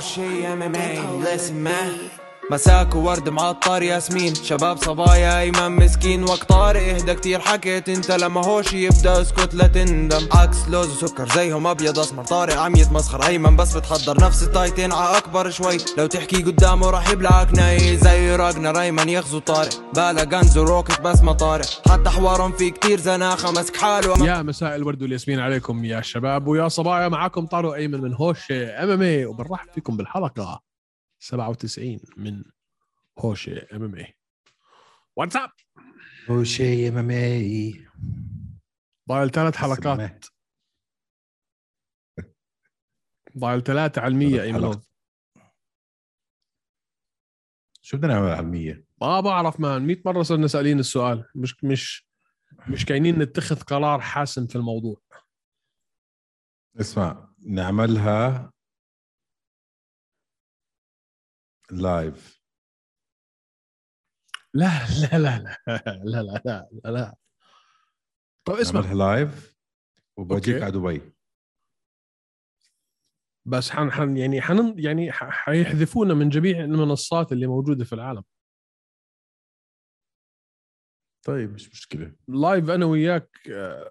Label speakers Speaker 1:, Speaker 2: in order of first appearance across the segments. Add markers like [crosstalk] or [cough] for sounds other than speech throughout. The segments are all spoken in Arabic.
Speaker 1: شي ام ام اي listen man مساك وورد معطر ياسمين شباب صبايا ايمن مسكين وقت طارق اهدى كتير حكيت انت لما هوش يبدا اسكت لا تندم عكس لوز وسكر زيهم ابيض اسمر طارق عم يتمسخر ايمن بس بتحضر نفس التايتين ع اكبر شوي لو تحكي قدامه راح يبلعك ناي زي راجنا ريمان يغزو طارق بالا غنز وروكت بس ما طارق حتى حوارهم في كتير زناخه مسك حاله
Speaker 2: يا مساء الورد والياسمين عليكم يا شباب ويا صبايا معاكم طارق ايمن من هوش ام ام اي وبنرحب فيكم بالحلقه 97 من هوش إيه. ام ام اي واتساب
Speaker 3: وشي ام ام اي
Speaker 2: ضايل ثلاث حلقات ضايل ثلاثة على المية
Speaker 3: ثلاث
Speaker 2: ايمن
Speaker 3: حلقات. شو بدنا نعمل على المية؟
Speaker 2: ما بعرف مان 100 مرة صرنا سالين السؤال مش مش مش كاينين نتخذ قرار حاسم في الموضوع
Speaker 3: اسمع نعملها لايف
Speaker 2: لا لا لا لا لا لا لا لا, لا. طب اسمع
Speaker 3: نعملها لايف وبجيك
Speaker 2: أوكي.
Speaker 3: على دبي
Speaker 2: بس حن حن يعني حن يعني ح- حيحذفونا من جميع المنصات اللي موجوده في العالم
Speaker 3: طيب مش مشكلة
Speaker 2: لايف انا وياك آه،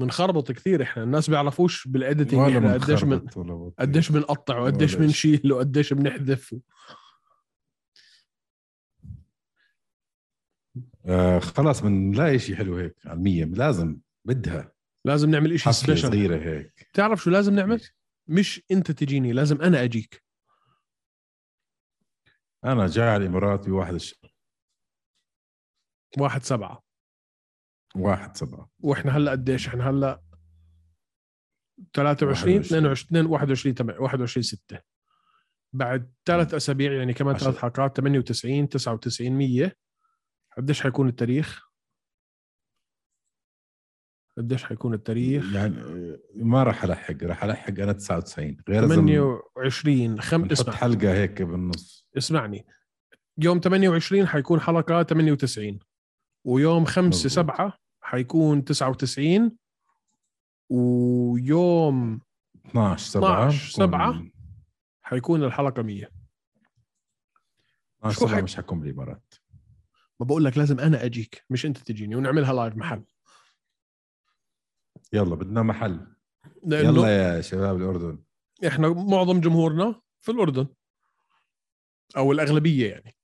Speaker 2: بنخربط كثير احنا الناس بيعرفوش بالاديتنج احنا يعني قديش من
Speaker 3: بنخربط ولا بطيء.
Speaker 2: قديش بنقطع وقديش
Speaker 3: ولا
Speaker 2: بنشيل وقديش بنحذف
Speaker 3: آه خلاص بنلاقي شيء حلو هيك على المية لازم بدها
Speaker 2: لازم نعمل شيء
Speaker 3: حفلة
Speaker 2: سبيشل
Speaker 3: صغيرة هيك
Speaker 2: بتعرف شو لازم نعمل؟ مش انت تجيني لازم انا اجيك
Speaker 3: أنا جاي على الإمارات بواحد الشهر
Speaker 2: واحد سبعة
Speaker 3: واحد سبعة
Speaker 2: واحنا هلا قديش احنا هلا 23 22 21 تمام 21 6 بعد ثلاث اسابيع يعني كمان
Speaker 3: عشرة.
Speaker 2: ثلاث حلقات 98 99 100 قديش حيكون التاريخ؟ قديش حيكون التاريخ؟
Speaker 3: يعني آه، ما راح ألحق راح ألحق أنا 99 غير لازم
Speaker 2: 28 خم...
Speaker 3: نحط
Speaker 2: اسمع
Speaker 3: حلقة هيك بالنص
Speaker 2: اسمعني يوم 28 حيكون حلقه 98 ويوم 5
Speaker 3: مظبوط.
Speaker 2: 7 حيكون 99 ويوم
Speaker 3: 12 7
Speaker 2: 12 سبعة. حيكون الحلقه 100 شو
Speaker 3: 12 7
Speaker 2: حي-
Speaker 3: مش حكون بالامارات
Speaker 2: ما بقول لك لازم انا اجيك مش انت تجيني ونعملها لايف محل
Speaker 3: يلا بدنا محل
Speaker 2: لانه
Speaker 3: يلا يا شباب الاردن
Speaker 2: احنا معظم جمهورنا في الاردن او الاغلبيه يعني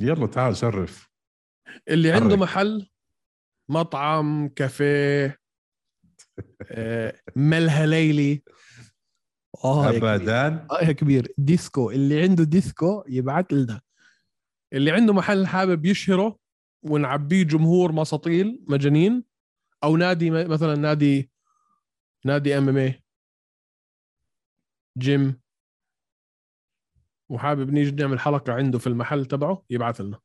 Speaker 3: يلا تعال شرف
Speaker 2: اللي
Speaker 3: حرك.
Speaker 2: عنده محل مطعم كافيه آه، ملهى ليلي اه يا كبير.
Speaker 3: ابدا
Speaker 2: اه يا كبير ديسكو اللي عنده ديسكو يبعت لنا اللي عنده محل حابب يشهره ونعبيه جمهور مساطيل مجانين او نادي م- مثلا نادي نادي ام ام جيم وحابب نيجي نعمل حلقه عنده في المحل تبعه يبعث لنا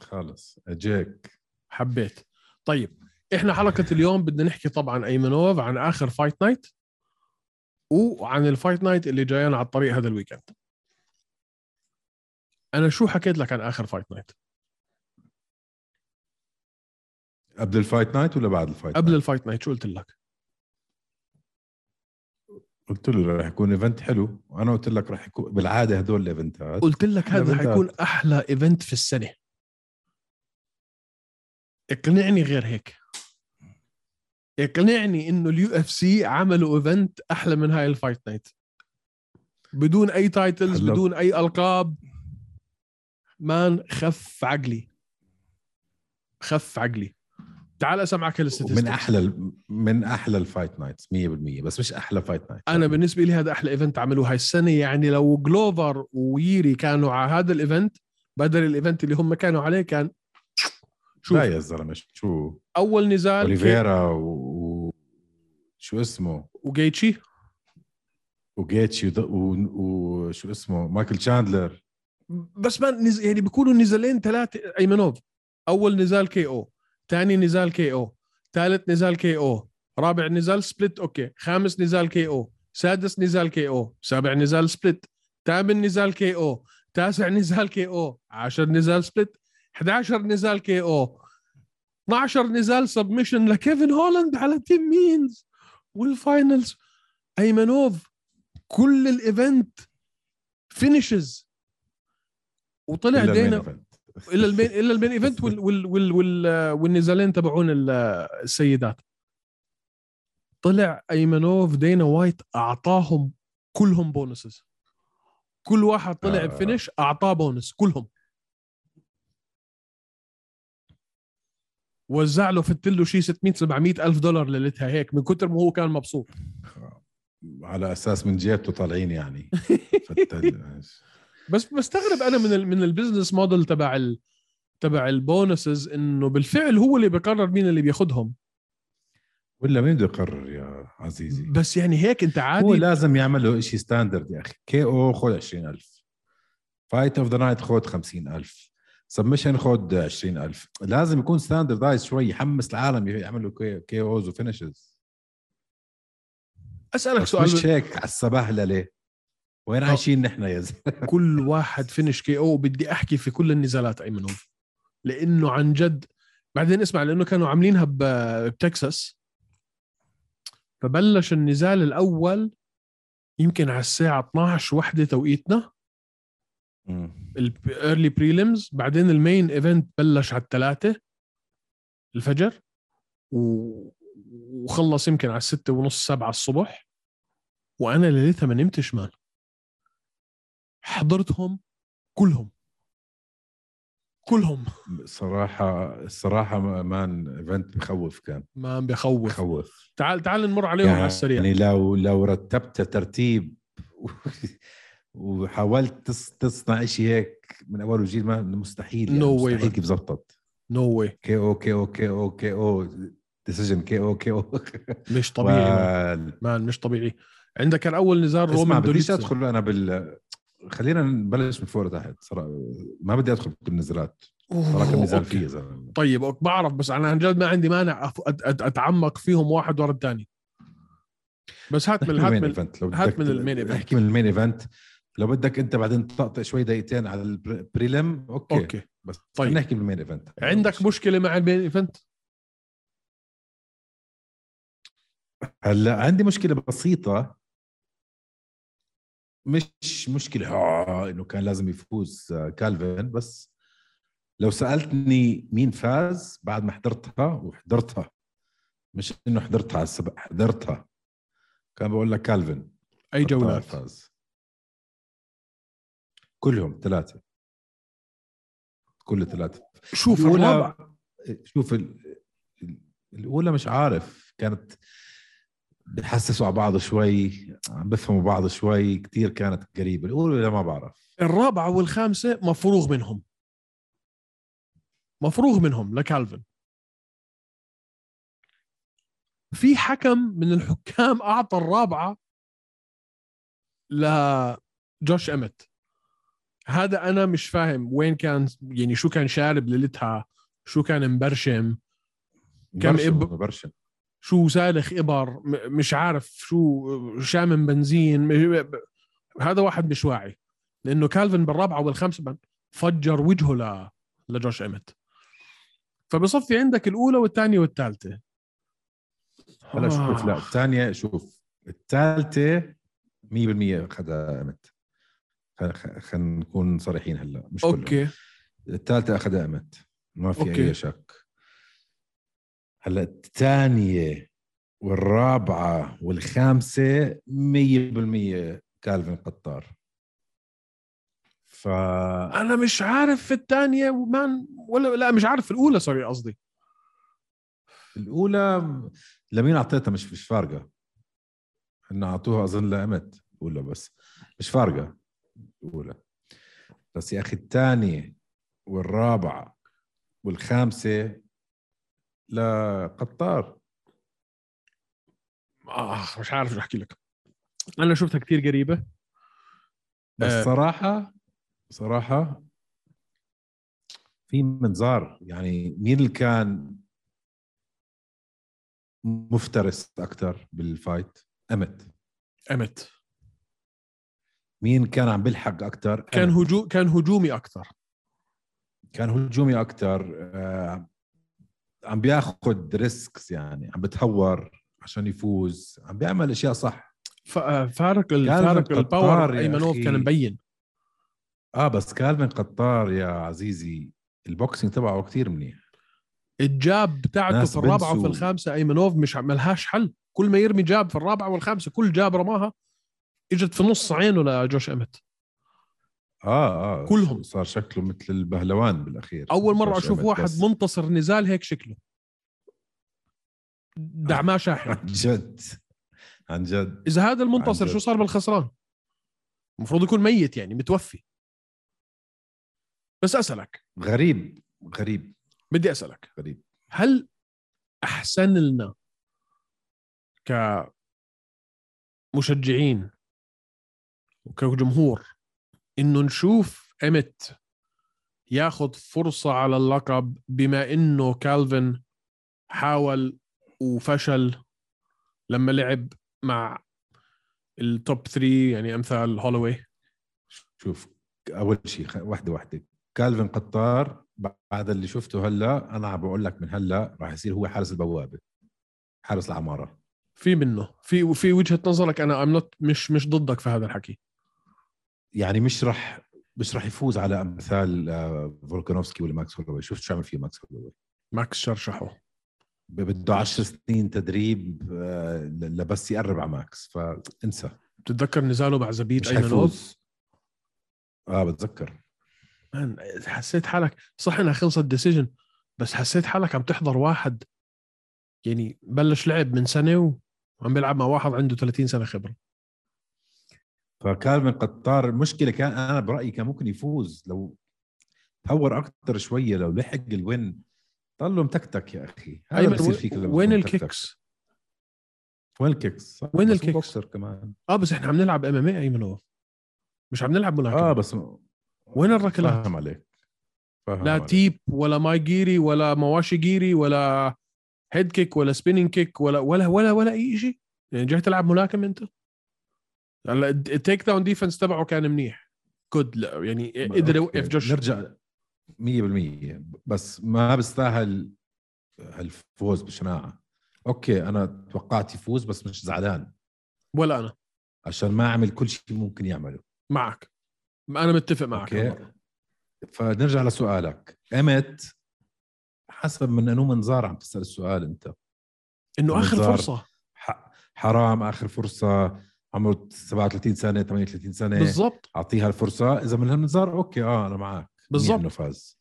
Speaker 3: خلص اجيك
Speaker 2: حبيت طيب احنا حلقه اليوم بدنا نحكي طبعا ايمنوف عن اخر فايت نايت وعن الفايت نايت اللي جاينا على الطريق هذا الويكند انا شو حكيت لك عن اخر فايت نايت
Speaker 3: قبل الفايت نايت ولا بعد الفايت
Speaker 2: قبل
Speaker 3: نايت؟
Speaker 2: الفايت نايت شو قلت لك
Speaker 3: قلت له رح يكون ايفنت حلو وانا قلت لك رح يكون بالعاده هدول الايفنتات
Speaker 2: قلت لك هذا
Speaker 3: بدنا-
Speaker 2: حيكون احلى ايفنت في السنه اقنعني غير هيك اقنعني انه اليو اف سي عملوا ايفنت احلى من هاي الفايت نايت بدون اي تايتلز
Speaker 3: هلا-
Speaker 2: بدون اي القاب مان خف عقلي خف عقلي تعال اسمعك
Speaker 3: من
Speaker 2: الستاتستكس
Speaker 3: احلى ال- من احلى الفايت نايتس 100% بس مش احلى فايت نايت يعني
Speaker 2: انا بالنسبه لي هذا احلى ايفنت عملوه هاي السنه يعني لو جلوفر وييري كانوا على هذا الايفنت بدل الايفنت اللي هم كانوا عليه كان شوف.
Speaker 3: لا يا زلمه شو
Speaker 2: اول نزال كي-
Speaker 3: اوليفيرا و... و... شو اسمه
Speaker 2: وجيتشي
Speaker 3: وجيتشي وض- و- وشو اسمه مايكل تشاندلر
Speaker 2: بس ما نز... يعني بيكونوا نزالين ثلاثه ايمنوف اول نزال كي او ثاني نزال كي او ثالث نزال كي او رابع نزال سبلت اوكي خامس نزال كي او سادس نزال كي او سابع نزال سبلت ثامن نزال كي او تاسع نزال كي او عشر نزال سبلت 11 نزال كي او 12 نزال سبمشن لكيفن هولاند على تيم مينز والفاينلز ايمنوف كل الايفنت فينيشز وطلع
Speaker 3: إلا المين
Speaker 2: دينا
Speaker 3: إيفنت.
Speaker 2: الا المين الا المين ايفنت وال وال وال وال والنزالين تبعون ال- السيدات طلع ايمنوف دينا وايت اعطاهم كلهم بونسز كل واحد طلع
Speaker 3: آه.
Speaker 2: بفينش اعطاه بونس كلهم وزع له فت له شيء 600 700 الف دولار ليلتها هيك من كتر ما هو كان مبسوط
Speaker 3: على اساس من جيبته
Speaker 2: [laughs]
Speaker 3: طالعين يعني فتل-
Speaker 2: بس بستغرب انا من ال من البزنس موديل تبع ال تبع البونسز انه بالفعل هو اللي بيقرر مين اللي بياخذهم
Speaker 3: ولا مين بده يقرر يا عزيزي
Speaker 2: بس يعني هيك انت
Speaker 3: هو
Speaker 2: عادي
Speaker 3: لازم يعمل له شيء ستاندرد يا اخي كي او خذ 20000 فايت اوف ذا نايت خذ 50000 سبمشن خذ 20000 لازم يكون ستاندردايز شوي يحمس العالم يعملوا كي
Speaker 2: [laughs]
Speaker 3: اوز وفينشز
Speaker 2: اسالك
Speaker 3: بس مش
Speaker 2: سؤال
Speaker 3: هيك على السبهلله ليه؟ وين
Speaker 2: آه.
Speaker 3: عايشين نحن يا زلمه؟
Speaker 2: كل واحد فينش كي او بدي احكي في كل النزالات ايمنوف لانه عن جد بعدين اسمع لانه كانوا عاملينها ب- بتكساس فبلش النزال الاول يمكن على الساعه 12 وحده توقيتنا الايرلي بريليمز بعدين المين ايفنت بلش على الثلاثة الفجر و... وخلص يمكن على الستة ونص سبعة الصبح وأنا ليلتها ما نمتش مان حضرتهم كلهم كلهم
Speaker 3: صراحه الصراحه مان ايفنت بخوف كان
Speaker 2: ما بخوف
Speaker 3: بخوف
Speaker 2: تعال تعال نمر عليهم على السريع
Speaker 3: يعني لو لو رتبت ترتيب [laughs] وحاولت تص- تصنع شيء هيك من اول وجديد ما مستحيل يعني
Speaker 2: No way,
Speaker 3: مستحيل
Speaker 2: man.
Speaker 3: كيف زبطت
Speaker 2: نو no واي
Speaker 3: كي او كي او كي او كي او ديسيجن كي او كي [laughs] او
Speaker 2: مش طبيعي مان مش طبيعي عندك كان أول نزال
Speaker 3: اسمع
Speaker 2: رومان
Speaker 3: بديش
Speaker 2: دوليتسن
Speaker 3: ادخل انا بال خلينا نبلش من فوق لتحت صراحة ما بدي ادخل بكل النزلات صراحه كان نزال فيه يا زلمه
Speaker 2: طيب أوك- بعرف بس انا عن جد ما عندي مانع أف- أت- أت- اتعمق فيهم واحد ورا الثاني بس هات من هات
Speaker 3: نحكي المين
Speaker 2: من
Speaker 3: ايفنت لو
Speaker 2: هات
Speaker 3: بدك
Speaker 2: من المين ايفنت.
Speaker 3: احكي من المين ايفنت لو بدك انت بعدين تطقطق شوي دقيقتين على البريلم اوكي, أوكي.
Speaker 2: اوكي
Speaker 3: بس
Speaker 2: طيب.
Speaker 3: طيب نحكي بالمين ايفنت
Speaker 2: عندك مشكله مع المين ايفنت
Speaker 3: هلا عندي مشكله بسيطه مش مشكله آه انه كان لازم يفوز آه، كالفين بس لو سالتني مين فاز بعد ما حضرتها وحضرتها مش انه حضرتها على السبق حضرتها كان بقول لك كالفين
Speaker 2: اي
Speaker 3: قطار
Speaker 2: جولات
Speaker 3: فاز كلهم ثلاثة كل ثلاثة
Speaker 2: شوف الرابع
Speaker 3: شوف ال... ال- الأولى مش عارف كانت بحسسوا على بعض شوي عم بفهموا بعض شوي كتير كانت قريبة الأولى لا ما بعرف
Speaker 2: الرابعه والخامسه مفروغ منهم مفروغ منهم لكالفن في حكم من الحكام اعطى الرابعه لجوش امت هذا انا مش فاهم وين كان يعني شو كان شارب ليلتها شو كان مبرشم كم
Speaker 3: برشم-
Speaker 2: إب-
Speaker 3: برشم
Speaker 2: شو سالخ ابر م- مش عارف شو شامم بنزين م- ب- هذا واحد مش واعي لانه كالفن بالرابعه والخامسه بن- فجر وجهه ل لجوش امت فبصفي عندك الاولى والثانيه والثالثه
Speaker 3: هلا
Speaker 2: آه،
Speaker 3: شوف لا الثانية شوف الثالثة 100% أخذها أمت خلينا نكون صريحين هلا مش كلهم.
Speaker 2: اوكي
Speaker 3: الثالثة أخذها أمت ما في
Speaker 2: أوكي.
Speaker 3: أي شك هلا الثانية والرابعة والخامسة 100% كالفين قطار ف
Speaker 2: انا مش عارف في الثانيه ومان ولا لا مش عارف في الاولى سوري قصدي
Speaker 3: الأولى لمين أعطيتها مش مش فارقة إن أعطوها أظن لأمت الأولى بس مش فارقة الأولى بس يا أخي الثانية والرابعة والخامسة لقطار
Speaker 2: اخ آه، مش عارف شو احكي لك انا شفتها كثير قريبه
Speaker 3: بس
Speaker 2: آه.
Speaker 3: صراحة صراحة في منظار يعني مين اللي كان مفترس أكثر بالفايت؟ أمت
Speaker 2: امت
Speaker 3: مين كان عم بيلحق أكثر؟
Speaker 2: كان هجو كان هجومي اكثر
Speaker 3: كان هجومي آه، أكثر عم بياخد ريسكس يعني عم بتهور عشان يفوز عم بيعمل اشياء صح
Speaker 2: ف- آه، فارق ال- فارق
Speaker 3: قطار
Speaker 2: الباور
Speaker 3: يا
Speaker 2: ايمنوف
Speaker 3: أخي.
Speaker 2: كان مبين
Speaker 3: اه بس كالفن قطار يا عزيزي البوكسينج تبعه كتير منيح
Speaker 2: الجاب بتاعته
Speaker 3: ناس
Speaker 2: في الرابعه
Speaker 3: بنسوا.
Speaker 2: وفي الخامسه ايمنوف مش ع- ملهاش حل كل ما يرمي جاب في الرابعه والخامسه كل جاب رماها اجت في نص عينه لجوش امت
Speaker 3: اه اه
Speaker 2: كلهم.
Speaker 3: صار شكله مثل البهلوان بالاخير
Speaker 2: اول مره
Speaker 3: مش
Speaker 2: اشوف
Speaker 3: عمل
Speaker 2: واحد
Speaker 3: بس.
Speaker 2: منتصر نزال هيك شكله دعماه
Speaker 3: [laughs]
Speaker 2: شاحن
Speaker 3: عن جد عن جد
Speaker 2: اذا هذا المنتصر
Speaker 3: عن جد.
Speaker 2: شو صار بالخسران المفروض يكون ميت يعني متوفي بس اسالك
Speaker 3: غريب غريب
Speaker 2: بدي اسالك
Speaker 3: غريب.
Speaker 2: هل احسن لنا كمشجعين وكجمهور انه نشوف امت ياخذ فرصه على اللقب بما انه كالفن حاول وفشل لما لعب مع التوب 3 يعني امثال هولوي
Speaker 3: شوف اول شيء خ- وحده وحده كالفن قطار بعد اللي شفته هلا انا عم بقول لك من هلا راح يصير هو حارس البوابه حارس العماره
Speaker 2: في منه في وفي وجهه نظرك انا I'm not مش مش ضدك في هذا الحكي
Speaker 3: يعني مش راح مش راح يفوز على امثال آه، فولكانوفسكي ولا ماكس هولوي شفت شو عمل فيه ماكس هولوي
Speaker 2: ماكس شرشحه
Speaker 3: ب- بده 10 سنين تدريب آه، ل- لبس يقرب على ماكس فانسى
Speaker 2: بتتذكر نزاله مع زبيد
Speaker 3: مش
Speaker 2: ايمنوف
Speaker 3: حيفوز اه بتذكر
Speaker 2: مان حسيت حالك صح انها خلصت ديسيجن بس حسيت حالك عم تحضر واحد يعني بلش لعب من سنه وعم بيلعب مع واحد عنده 30 سنه خبره
Speaker 3: فكالفن قطار المشكله كان انا برايي كان ممكن يفوز لو تهور اكثر شويه لو لحق الوين ضلوا متكتك يا اخي هذا
Speaker 2: أيمن،
Speaker 3: بصير فيك لما
Speaker 2: وين
Speaker 3: تكون متكتك.
Speaker 2: الكيكس؟
Speaker 3: وين الكيكس صح،
Speaker 2: وين
Speaker 3: بس هو
Speaker 2: الكيكس؟
Speaker 3: بوكسر كمان
Speaker 2: اه بس احنا عم نلعب ام ام اي ايمنوف مش عم نلعب ملاكمه
Speaker 3: اه
Speaker 2: آه
Speaker 3: بس
Speaker 2: وين الركلات؟
Speaker 3: فاهم عليك فاهم
Speaker 2: لا
Speaker 3: عليك.
Speaker 2: تيب ولا ماي جيري ولا مواشي جيري ولا هيد كيك ولا سبيننج كيك ولا ولا ولا ولا اي شيء يعني جاي تلعب ملاكمه انت هلا التيك داون ديفنس تبعه كان منيح كود يعني قدر
Speaker 3: أوكي،
Speaker 2: يوقف جوش
Speaker 3: نرجع 100% بس ما بستاهل الفوز بشناعه اوكي انا توقعت يفوز بس مش زعلان
Speaker 2: ولا انا
Speaker 3: عشان ما عمل كل شيء ممكن يعمله
Speaker 2: معك انا متفق معك
Speaker 3: أوكي.
Speaker 2: هالمرة.
Speaker 3: فنرجع لسؤالك ايمت حسب من انو منظار عم تسال السؤال انت
Speaker 2: انه اخر
Speaker 3: بالظهر.
Speaker 2: فرصه
Speaker 3: ح- حرام اخر فرصه عمره 37 سنه 38 سنه
Speaker 2: بالضبط
Speaker 3: اعطيها الفرصه اذا من هالمنظار اوكي اه انا معك
Speaker 2: بالضبط.
Speaker 3: منيح انه فاز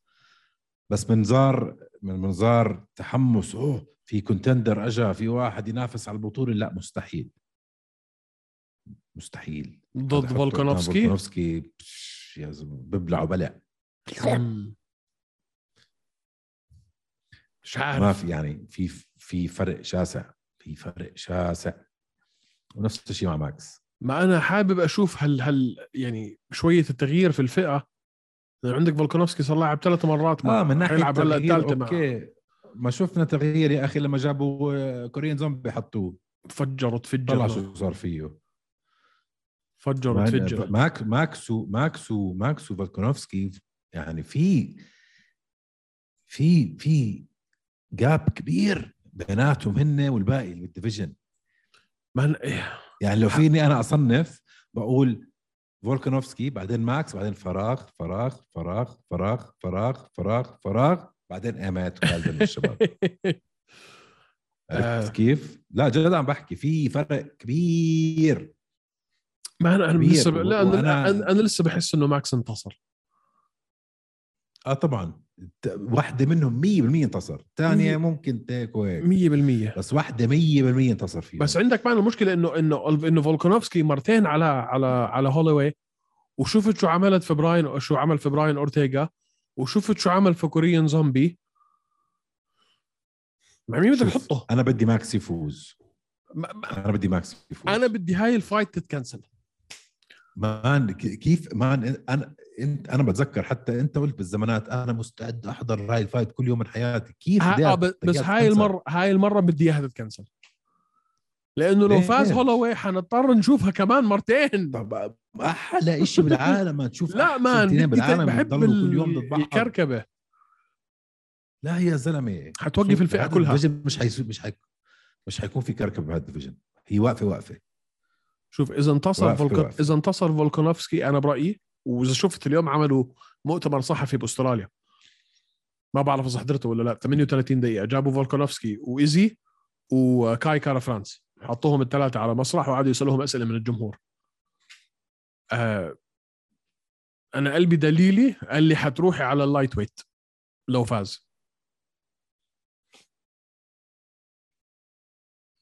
Speaker 3: بس منظار من منظار تحمس اوه في كونتندر اجا في واحد ينافس على البطوله لا مستحيل مستحيل هذا
Speaker 2: ضد
Speaker 3: حطه قدام
Speaker 2: فولكانوفسكي
Speaker 3: فولكانوفسكي بش، يا زلمه ببلع وبلع
Speaker 2: مم. مش
Speaker 3: ما
Speaker 2: عارف
Speaker 3: في يعني في في فرق شاسع في فرق شاسع ونفس الشيء مع ماكس
Speaker 2: ما انا حابب اشوف هل هل يعني شويه التغيير في الفئه لأن عندك فولكانوفسكي صار لاعب ثلاث مرات مع
Speaker 3: اه من ناحيه
Speaker 2: حيلعب هلا
Speaker 3: تغيير،
Speaker 2: الثالثه مع
Speaker 3: اوكي ما شفنا تغيير يا اخي لما جابوا آه، كوريين زومبي حطوه
Speaker 2: فجر
Speaker 3: طلع
Speaker 2: وتفجر
Speaker 3: شو صار فيه
Speaker 2: فجر
Speaker 3: مع إن
Speaker 2: وتفجر
Speaker 3: ماك ماكسو ماكسو ماكسو فالكونوفسكي يعني في في في جاب كبير بيناتهم هن والباقي اللي بالديفيجن
Speaker 2: ما أنا- إيه،
Speaker 3: يعني لو فيني انا اصنف بقول فولكانوفسكي بعدين ماكس بعدين فراغ فراغ فراغ فراغ فراغ فراغ فراغ بعدين ايمات
Speaker 2: [laughs]
Speaker 3: وكالفن والشباب
Speaker 2: آه.
Speaker 3: عرفت كيف؟ لا جد عم بحكي في فرق كبير
Speaker 2: ما انا انا
Speaker 3: كبير.
Speaker 2: لسه ب- لا انا
Speaker 3: وأنا-
Speaker 2: انا أنا لسه بحس انه ماكس انتصر آه،
Speaker 3: اه طبعا ت- واحدة منهم 100% انتصر، الثانية ممكن تيك وهيك
Speaker 2: 100%
Speaker 3: بس واحدة 100% انتصر فيها
Speaker 2: بس عندك معنا المشكله انه انه انه فولكانوفسكي مرتين على على على هولوي وشفت شو عملت في براين شو عمل في براين اورتيغا وشفت شو عمل في كوريان زومبي مع مين بدك
Speaker 3: شوف،
Speaker 2: تحطه؟
Speaker 3: انا بدي ماكس يفوز
Speaker 2: ما- ما-
Speaker 3: انا بدي ماكس يفوز
Speaker 2: انا بدي هاي الفايت تتكنسل
Speaker 3: مان ك- كيف مان انا انت انا بتذكر حتى انت قلت بالزمانات انا مستعد احضر هاي الفايت كل يوم من حياتي كيف إيه،
Speaker 2: ها-
Speaker 3: بدي
Speaker 2: آه،
Speaker 3: أحضر
Speaker 2: ب- بس
Speaker 3: فايت
Speaker 2: هاي
Speaker 3: كنسل؟
Speaker 2: المره هاي المره بدي اياها تتكنسل لانه لو
Speaker 3: ليه؟
Speaker 2: فاز هولوي حنضطر نشوفها كمان مرتين
Speaker 3: طب احلى شيء بالعالم ما تشوف
Speaker 2: [laughs] لا
Speaker 3: أحسن
Speaker 2: مان
Speaker 3: اثنين
Speaker 2: بدي
Speaker 3: بالعالم
Speaker 2: بحب
Speaker 3: بضلوا كل يوم ضد
Speaker 2: ال-
Speaker 3: بعض
Speaker 2: الكركبه
Speaker 3: لا يا زلمه
Speaker 2: حتوقف
Speaker 3: شوف،
Speaker 2: الفئة
Speaker 3: هذا
Speaker 2: كلها.
Speaker 3: الفيجن مش حيسو مش حي مش حيكون في كركبه بهذا الديفيجن هي واقفه واقفه
Speaker 2: شوف اذا انتصر
Speaker 3: واقف-
Speaker 2: فولكن...
Speaker 3: واقف.
Speaker 2: اذا انتصر فولكانوفسكي انا برايي واذا شفت اليوم عملوا مؤتمر صحفي باستراليا ما بعرف اذا حضرته ولا لا 38 دقيقه جابوا فولكانوفسكي وايزي وكاي كارا فرانس حطوهم الثلاثه على مسرح وقعدوا يسالوهم اسئله من الجمهور آه انا قلبي دليلي قال لي حتروحي على اللايت ويت لو فاز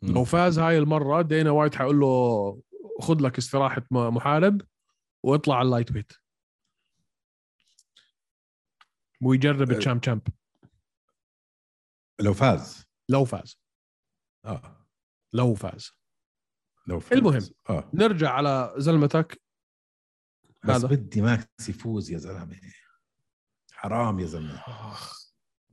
Speaker 2: لو فاز هاي المره دينا وايت حقول له خذ لك استراحه م- محارب واطلع على اللايت ويت ويجرب
Speaker 3: أه.
Speaker 2: الشام شامب
Speaker 3: لو فاز
Speaker 2: لو فاز
Speaker 3: اه
Speaker 2: لو فاز
Speaker 3: لو فاز
Speaker 2: المهم.
Speaker 3: اه
Speaker 2: نرجع على زلمتك
Speaker 3: بس
Speaker 2: هذا.
Speaker 3: بدي ماكس يفوز يا زلمه حرام يا زلمه
Speaker 2: آه،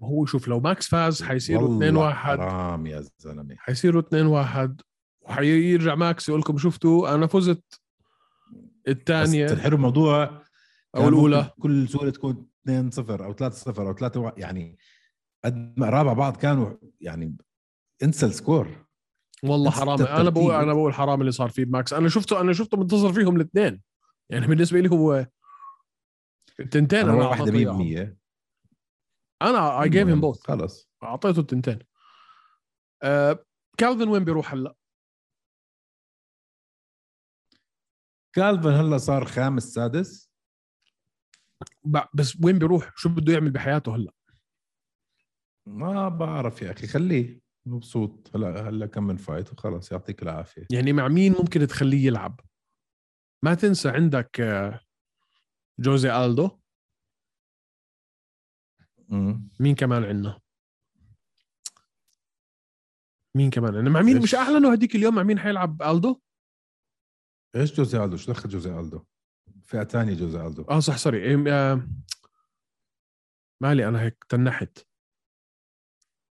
Speaker 2: هو شوف لو ماكس فاز حيصيروا
Speaker 3: والله
Speaker 2: 2 1
Speaker 3: حرام يا زلمه
Speaker 2: حيصيروا 2 1 وحيرجع ماكس يقول لكم شفتوا انا فزت
Speaker 3: بس
Speaker 2: الثانيه
Speaker 3: الحلو الموضوع
Speaker 2: او الاولى
Speaker 3: كل سهوله تكون 2 0 او 3 0 او 3 1 يعني قد ما قرابه بعض كانوا يعني انسى السكور
Speaker 2: والله
Speaker 3: نفس
Speaker 2: حرام
Speaker 3: الترتيب.
Speaker 2: انا بقول انا بقول حرام اللي صار فيه بماكس انا شفته انا شفته منتصر فيهم الاثنين يعني بالنسبه لي هو التنتين
Speaker 3: انا
Speaker 2: انا
Speaker 3: واحده
Speaker 2: أعطيته إياهم.
Speaker 3: 100%
Speaker 2: انا اي جيف هيم بوث
Speaker 3: خلص
Speaker 2: اعطيته التنتين آه كالفن وين بيروح هلا؟
Speaker 3: كالفن هلا صار خامس سادس
Speaker 2: ب- بس وين بيروح؟ شو بده يعمل بحياته هلا؟
Speaker 3: ما بعرف يا اخي خليه مبسوط هلا هلا كم من فايت وخلص يعطيك العافيه
Speaker 2: يعني مع مين ممكن تخليه يلعب؟ ما تنسى عندك آه، جوزي الدو
Speaker 3: مم.
Speaker 2: مين كمان عندنا؟ مين كمان عندنا؟ مع مين مش اعلنوا هديك اليوم مع مين حيلعب الدو؟
Speaker 3: ايش جوزي الدو؟ شو دخل جوزي الدو؟ فئه ثانيه جوزي الدو
Speaker 2: اه صح سوري إيه، آه، مالي انا هيك تنحت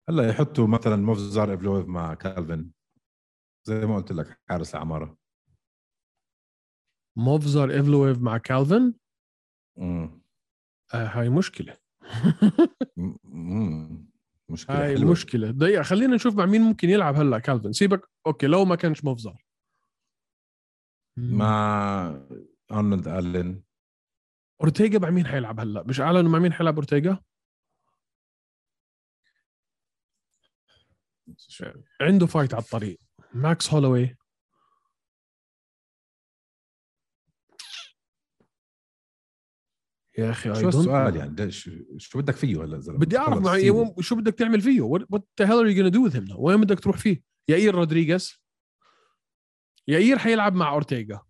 Speaker 3: هلا يحطوا مثلا مفزار افلويف مع كالفن زي ما قلت لك حارس العماره
Speaker 2: موفزر ايفلويف مع كالفن
Speaker 3: مم.
Speaker 2: آه هاي مشكله
Speaker 3: مم. مم. مشكله
Speaker 2: هاي
Speaker 3: حلوة.
Speaker 2: مشكله دقيقه خلينا نشوف مع مين ممكن يلعب هلا كالفن سيبك اوكي لو ما كانش موفزر
Speaker 3: مع ارنولد الين
Speaker 2: اورتيجا مع مين حيلعب هلا مش اعلنوا مع مين حيلعب اورتيجا عنده فايت على الطريق ماكس هولوي يا اخي I
Speaker 3: شو
Speaker 2: don't know.
Speaker 3: السؤال يعني ده شو, شو بدك فيه هلا زلمه
Speaker 2: بدي اعرف
Speaker 3: خلص
Speaker 2: مع
Speaker 3: سيبه.
Speaker 2: يوم- شو بدك تعمل فيه وات ذا هيل ار يو دو وذ هيم وين بدك تروح فيه يائير رودريغيز يائير حيلعب مع اورتيغا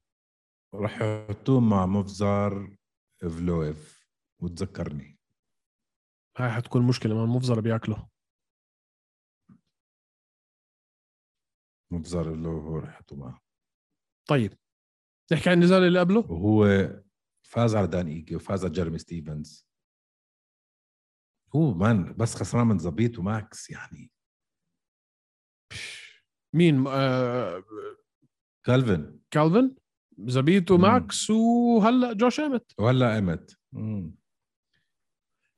Speaker 3: رح يحطوه مع مفزار افلويف وتذكرني
Speaker 2: هاي حتكون مشكله ما المفزر بياكله
Speaker 3: مفزار افلويف هو رح يحطوه معه
Speaker 2: طيب نحكي عن النزال اللي قبله
Speaker 3: وهو فاز على دان ايجي وفاز على جيرمي ستيفنز هو مان بس خسران من زبيط وماكس يعني
Speaker 2: مين آه
Speaker 3: كالفن
Speaker 2: كالفن زبيتو
Speaker 3: مم.
Speaker 2: ماكس وهلا جوش امت
Speaker 3: ولا امت مم.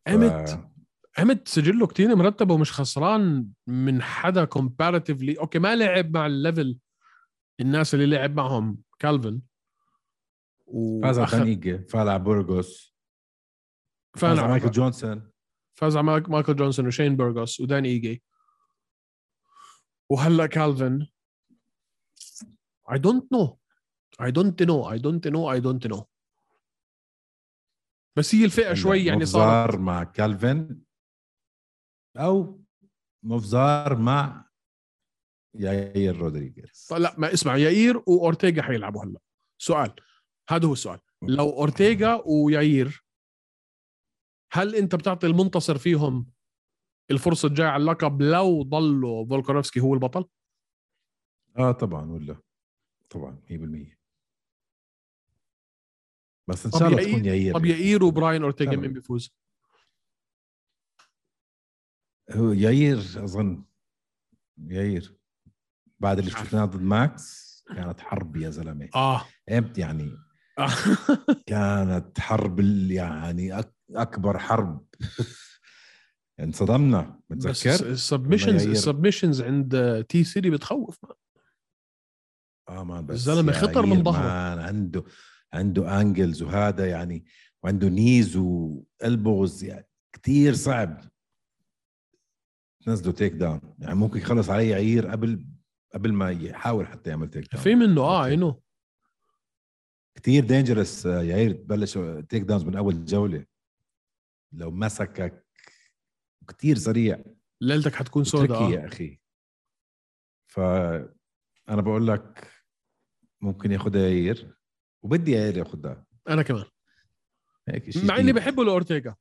Speaker 2: امت
Speaker 3: ف-
Speaker 2: امت سجله كتير مرتب ومش خسران من حدا كومباراتيفلي اوكي ما لعب مع الليفل الناس اللي لعب معهم كالفن
Speaker 3: فاز على
Speaker 2: وأخذ-
Speaker 3: دان ايجي فاز على بورغوس
Speaker 2: فاز
Speaker 3: فاز على
Speaker 2: على
Speaker 3: مايكل جونسون
Speaker 2: فاز على مايك- مايكل جونسون وشين بيرغوس ودان ايجي وهلا كالفن I don't know I don't know I don't know I don't know بس هي الفئه شوي يعني صارت
Speaker 3: مفزار مع كالفن او مفزار مع ياير رودريغيز
Speaker 2: طيب لا ما اسمع ياير واورتيغا حيلعبوا هلا سؤال هذا هو السؤال لو اورتيغا وياير هل انت بتعطي المنتصر فيهم الفرصه الجايه على اللقب لو ضلوا فولكانوفسكي هو البطل
Speaker 3: اه طبعا ولا طبعا 100% بس ان
Speaker 2: طب
Speaker 3: شاء الله
Speaker 2: يا
Speaker 3: تكون ياير
Speaker 2: طب ياير وبراين اورتيغا
Speaker 3: تمام.
Speaker 2: مين بيفوز
Speaker 3: هو ياير اظن ياير بعد اللي
Speaker 2: مش عارف.
Speaker 3: شفناه ضد ماكس كانت حرب يا زلمه
Speaker 2: اه
Speaker 3: امت يعني
Speaker 2: آه.
Speaker 3: كانت حرب ال- يعني أك- اكبر حرب [laughs] انصدمنا
Speaker 2: [laughs] بس
Speaker 3: متذكر
Speaker 2: السبمشنز
Speaker 3: يغير.
Speaker 2: السبمشنز عند تي سيري بتخوف مان.
Speaker 3: اه مان بس
Speaker 2: الزلمة
Speaker 3: يا
Speaker 2: خطر من
Speaker 3: عيل،
Speaker 2: ظهره.
Speaker 3: مان عنده عنده انجلز وهذا يعني وعنده نيز والبوز يعني كثير صعب تنزله تيك داون يعني ممكن يخلص علي عير قبل قبل ما يحاول حتى يعمل تيك
Speaker 2: في
Speaker 3: داون
Speaker 2: منه اه اي نو
Speaker 3: كثير دينجرس يا عير آه، تبلش تيك داونز من اول جوله لو مسكك كثير سريع
Speaker 2: ليلتك حتكون
Speaker 3: تركي
Speaker 2: سوداء آه.
Speaker 3: يا اخي ف انا بقول لك ممكن ياخذها ياير وبدي ياير ياخذها
Speaker 2: انا كمان
Speaker 3: هيك شيء
Speaker 2: مع اني
Speaker 3: جديد.
Speaker 2: بحبه لاورتيغا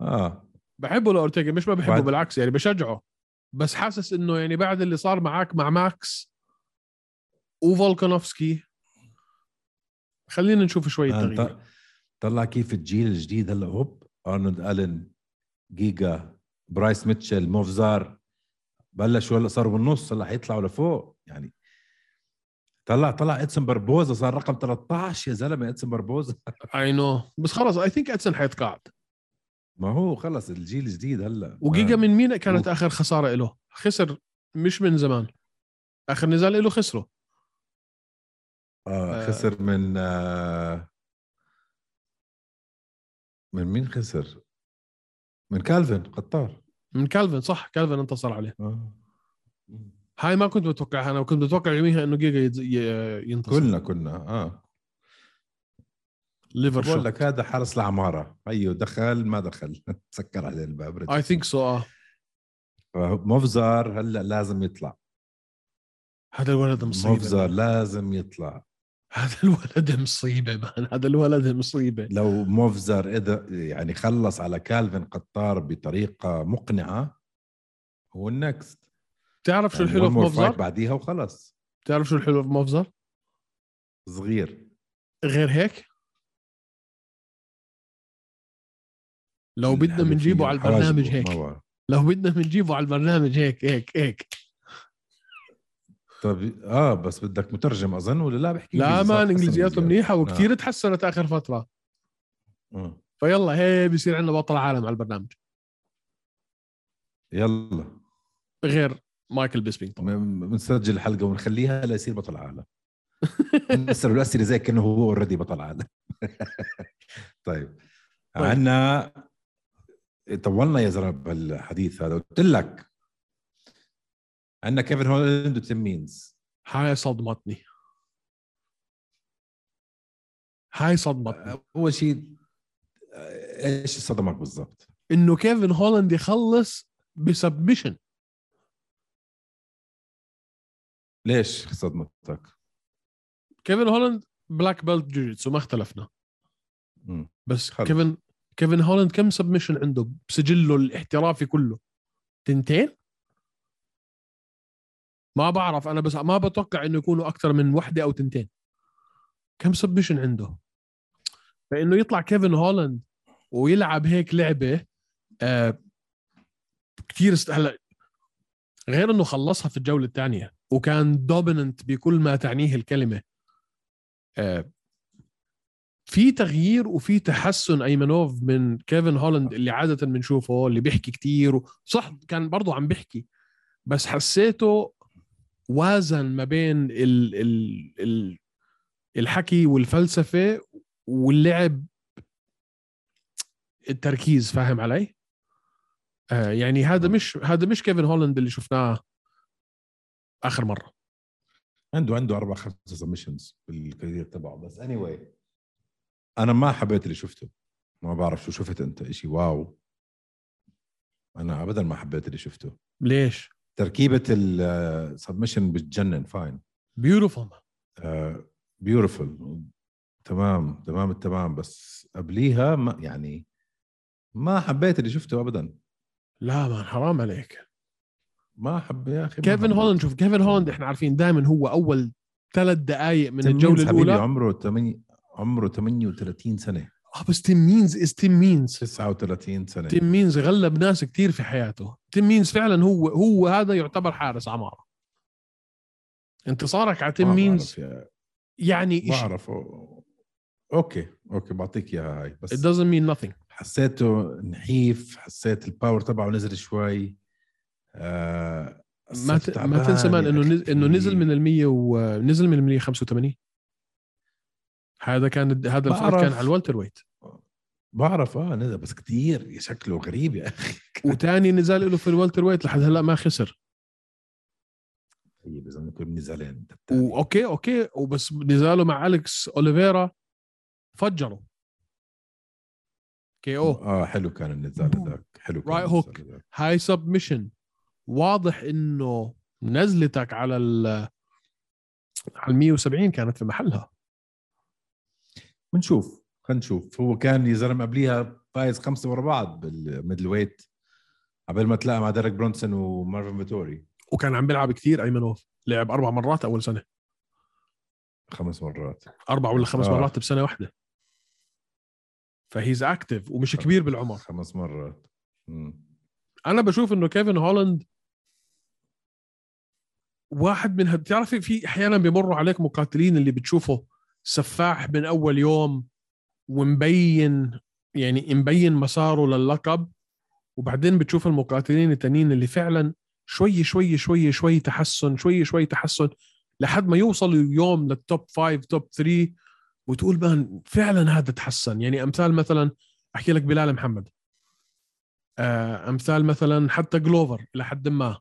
Speaker 3: اه
Speaker 2: بحبه لاورتيغا مش ما بحبه
Speaker 3: بعد-
Speaker 2: بالعكس يعني بشجعه بس حاسس انه يعني بعد اللي صار معك مع ماكس وفولكانوفسكي خلينا نشوف شويه
Speaker 3: آه،
Speaker 2: تغيير
Speaker 3: ط- طلع كيف الجيل الجديد هلا هوب ارنولد الن جيجا برايس ميتشل موفزار بلشوا هلا صاروا بالنص هلا حيطلعوا لفوق يعني طلع طلع ادسون بربوزا صار رقم 13 يا زلمه ادسون بربوزا
Speaker 2: اي نو بس خلص اي ثينك ادسن حيتقاعد
Speaker 3: [laughs] ما هو خلص الجيل الجديد هلا
Speaker 2: وجيجا من مين كانت
Speaker 3: آه. أوف.
Speaker 2: اخر خساره له خسر مش من زمان اخر نزال له خسره
Speaker 3: آه
Speaker 2: آه.
Speaker 3: خسر من آه من مين خسر؟ من كالفن قطار
Speaker 2: من كالفن صح كالفن انتصر عليه
Speaker 3: آه.
Speaker 2: هاي ما كنت متوقعها انا كنت متوقع يوميها انه جيجا يتز- ي- ينتصر
Speaker 3: كلنا كنا اه
Speaker 2: ليفر
Speaker 3: بقول
Speaker 2: شوت
Speaker 3: لك هذا حرس العماره ايوه دخل ما دخل [laughs] سكر عليه الباب
Speaker 2: اي ثينك سو
Speaker 3: مفزر هلا لازم يطلع
Speaker 2: هذا الولد مصيبه
Speaker 3: مفزر لازم يطلع
Speaker 2: هذا الولد مصيبه مان هذا الولد مصيبه
Speaker 3: لو مفزر اذا يعني خلص على كالفن قطار بطريقه مقنعه هو النكست
Speaker 2: بتعرف شو
Speaker 3: يعني
Speaker 2: الحلو
Speaker 3: one
Speaker 2: في
Speaker 3: more fight
Speaker 2: مفزر؟
Speaker 3: بعديها وخلص
Speaker 2: بتعرف شو الحلو في مفزر؟
Speaker 3: صغير
Speaker 2: غير هيك لو بدنا
Speaker 3: الحبيب
Speaker 2: بنجيبه
Speaker 3: فيه
Speaker 2: على البرنامج
Speaker 3: حواجبه،
Speaker 2: هيك
Speaker 3: ما بعرف.
Speaker 2: لو بدنا بنجيبه على البرنامج هيك هيك هيك
Speaker 3: طب اه بس بدك مترجم اظن ولا لا بحكي
Speaker 2: لا
Speaker 3: إنجليزي، صح؟
Speaker 2: مان
Speaker 3: أحسن
Speaker 2: انجليزياته
Speaker 3: إنجليزي.
Speaker 2: منيحه وكثير تحسنت اخر فتره
Speaker 3: آه.
Speaker 2: فيلا هي بيصير عندنا بطل عالم على البرنامج
Speaker 3: يلا
Speaker 2: غير مايكل بيسبينج طبعا
Speaker 3: م- بنسجل الحلقه ونخليها ليصير
Speaker 2: [laughs]
Speaker 3: بطل عالم نسأله الاسئله زي كانه هو اوريدي بطل عالم [laughs] طيب
Speaker 2: طيب.
Speaker 3: عنا طولنا يا زلمه بالحديث هذا قلت لك عندنا كيفن هولاند وتيم مينز
Speaker 2: هاي صدمتني هاي صدمتني
Speaker 3: اول شيء آه، ايش صدمك بالضبط؟
Speaker 2: انه كيفن هولاند يخلص بسبمشن
Speaker 3: ليش صدمتك؟
Speaker 2: كيفن هولاند بلاك بيلت جوجيتسو ما اختلفنا
Speaker 3: مم.
Speaker 2: بس
Speaker 3: حلو.
Speaker 2: كيفن كيفن هولاند كم سبمشن عنده بسجله الاحترافي كله تنتين ما بعرف انا بس ما بتوقع انه يكونوا اكثر من وحده او تنتين كم سبمشن عنده فانه يطلع كيفن هولاند ويلعب هيك لعبه آه كثير است... هلا غير انه خلصها في الجوله الثانيه وكان دوميننت بكل ما تعنيه الكلمه آه في تغيير وفي تحسن ايمنوف من كيفن هولاند اللي عاده بنشوفه اللي بيحكي كتير صح كان برضه عم بيحكي بس حسيته وازن ما بين ال ال ال الحكي والفلسفه واللعب التركيز فاهم علي؟ آه يعني هذا مش هذا مش كيفن هولاند اللي شفناه اخر مره
Speaker 3: عنده عنده اربع خمس سبمشنز بالكارير تبعه بس اني anyway. انا ما حبيت اللي شفته ما بعرف شو شفت انت شيء واو انا ابدا ما حبيت اللي شفته
Speaker 2: ليش؟
Speaker 3: تركيبه السبمشن بتجنن فاين
Speaker 2: بيوتيفول
Speaker 3: بيوتيفول Uh, تمام تمام التمام بس قبليها ما يعني ما حبيت اللي شفته ابدا
Speaker 2: لا ما حرام عليك
Speaker 3: ما حب يا اخي ما
Speaker 2: كيفن
Speaker 3: حبيت.
Speaker 2: هولاند شوف كيفن هولاند احنا عارفين دائما هو اول ثلاث دقائق من
Speaker 3: تيم مينز
Speaker 2: الجوله
Speaker 3: حبيبي
Speaker 2: الاولى
Speaker 3: عمره 8 عمره 38 سنه
Speaker 2: اه بس تيم مينز از تيم مينز
Speaker 3: 39 سنه
Speaker 2: تيم مينز غلب ناس كثير في حياته تيم مينز فعلا هو هو هذا يعتبر حارس عماره انتصارك على تيم
Speaker 3: ما
Speaker 2: مينز
Speaker 3: بعرف يا
Speaker 2: يعني شيء
Speaker 3: بعرف أو- اوكي اوكي بعطيك اياها هاي
Speaker 2: it
Speaker 3: بس
Speaker 2: doesn't mean nothing
Speaker 3: حسيته نحيف حسيت الباور تبعه نزل شوي آه
Speaker 2: ما ت... ما تنسى مان انه نز... انه نزل من ال 100 ونزل من ال 185 هذا كان هذا الفايت
Speaker 3: بعرف.
Speaker 2: كان على الوالتر ويت
Speaker 3: بعرف اه نزل بس كثير شكله غريب يا اخي
Speaker 2: وتاني نزال له في الوالتر ويت لحد هلا ما خسر
Speaker 3: طيب اذا نكون نزالين انت التاني.
Speaker 2: واوكي اوكي وبس نزاله مع اليكس اوليفيرا فجره كي او
Speaker 3: اه حلو كان النزال هذاك حلو كان
Speaker 2: Right
Speaker 3: النزال
Speaker 2: hook.
Speaker 3: هذاك.
Speaker 2: هاي سبمشن واضح انه نزلتك على ال على ال 170 كانت في محلها
Speaker 3: بنشوف خلينا نشوف هو كان يا زلمه قبليها فايز خمسه ورا بعض بالميدل ويت قبل ما تلاقى مع ديريك برونسون ومارفن فيتوري
Speaker 2: وكان عم بيلعب كثير ايمنوف لعب اربع مرات اول سنه
Speaker 3: خمس مرات
Speaker 2: اربع ولا خمس
Speaker 3: آه.
Speaker 2: مرات بسنه واحده فهيز اكتف ومش كبير بالعمر
Speaker 3: خمس مرات مم.
Speaker 2: انا بشوف انه كيفن هولاند واحد من هد... بتعرف في احيانا بيمروا عليك مقاتلين اللي بتشوفه سفاح من اول يوم ومبين يعني مبين مساره للقب وبعدين بتشوف المقاتلين التانيين اللي فعلا شوي شوي شوي شوي تحسن شوي شوي تحسن لحد ما يوصلوا يوم للتوب فايف توب ثري وتقول مان فعلا هذا تحسن يعني امثال مثلا احكي لك بلال محمد آه، امثال مثلا حتى جلوفر الى حد ما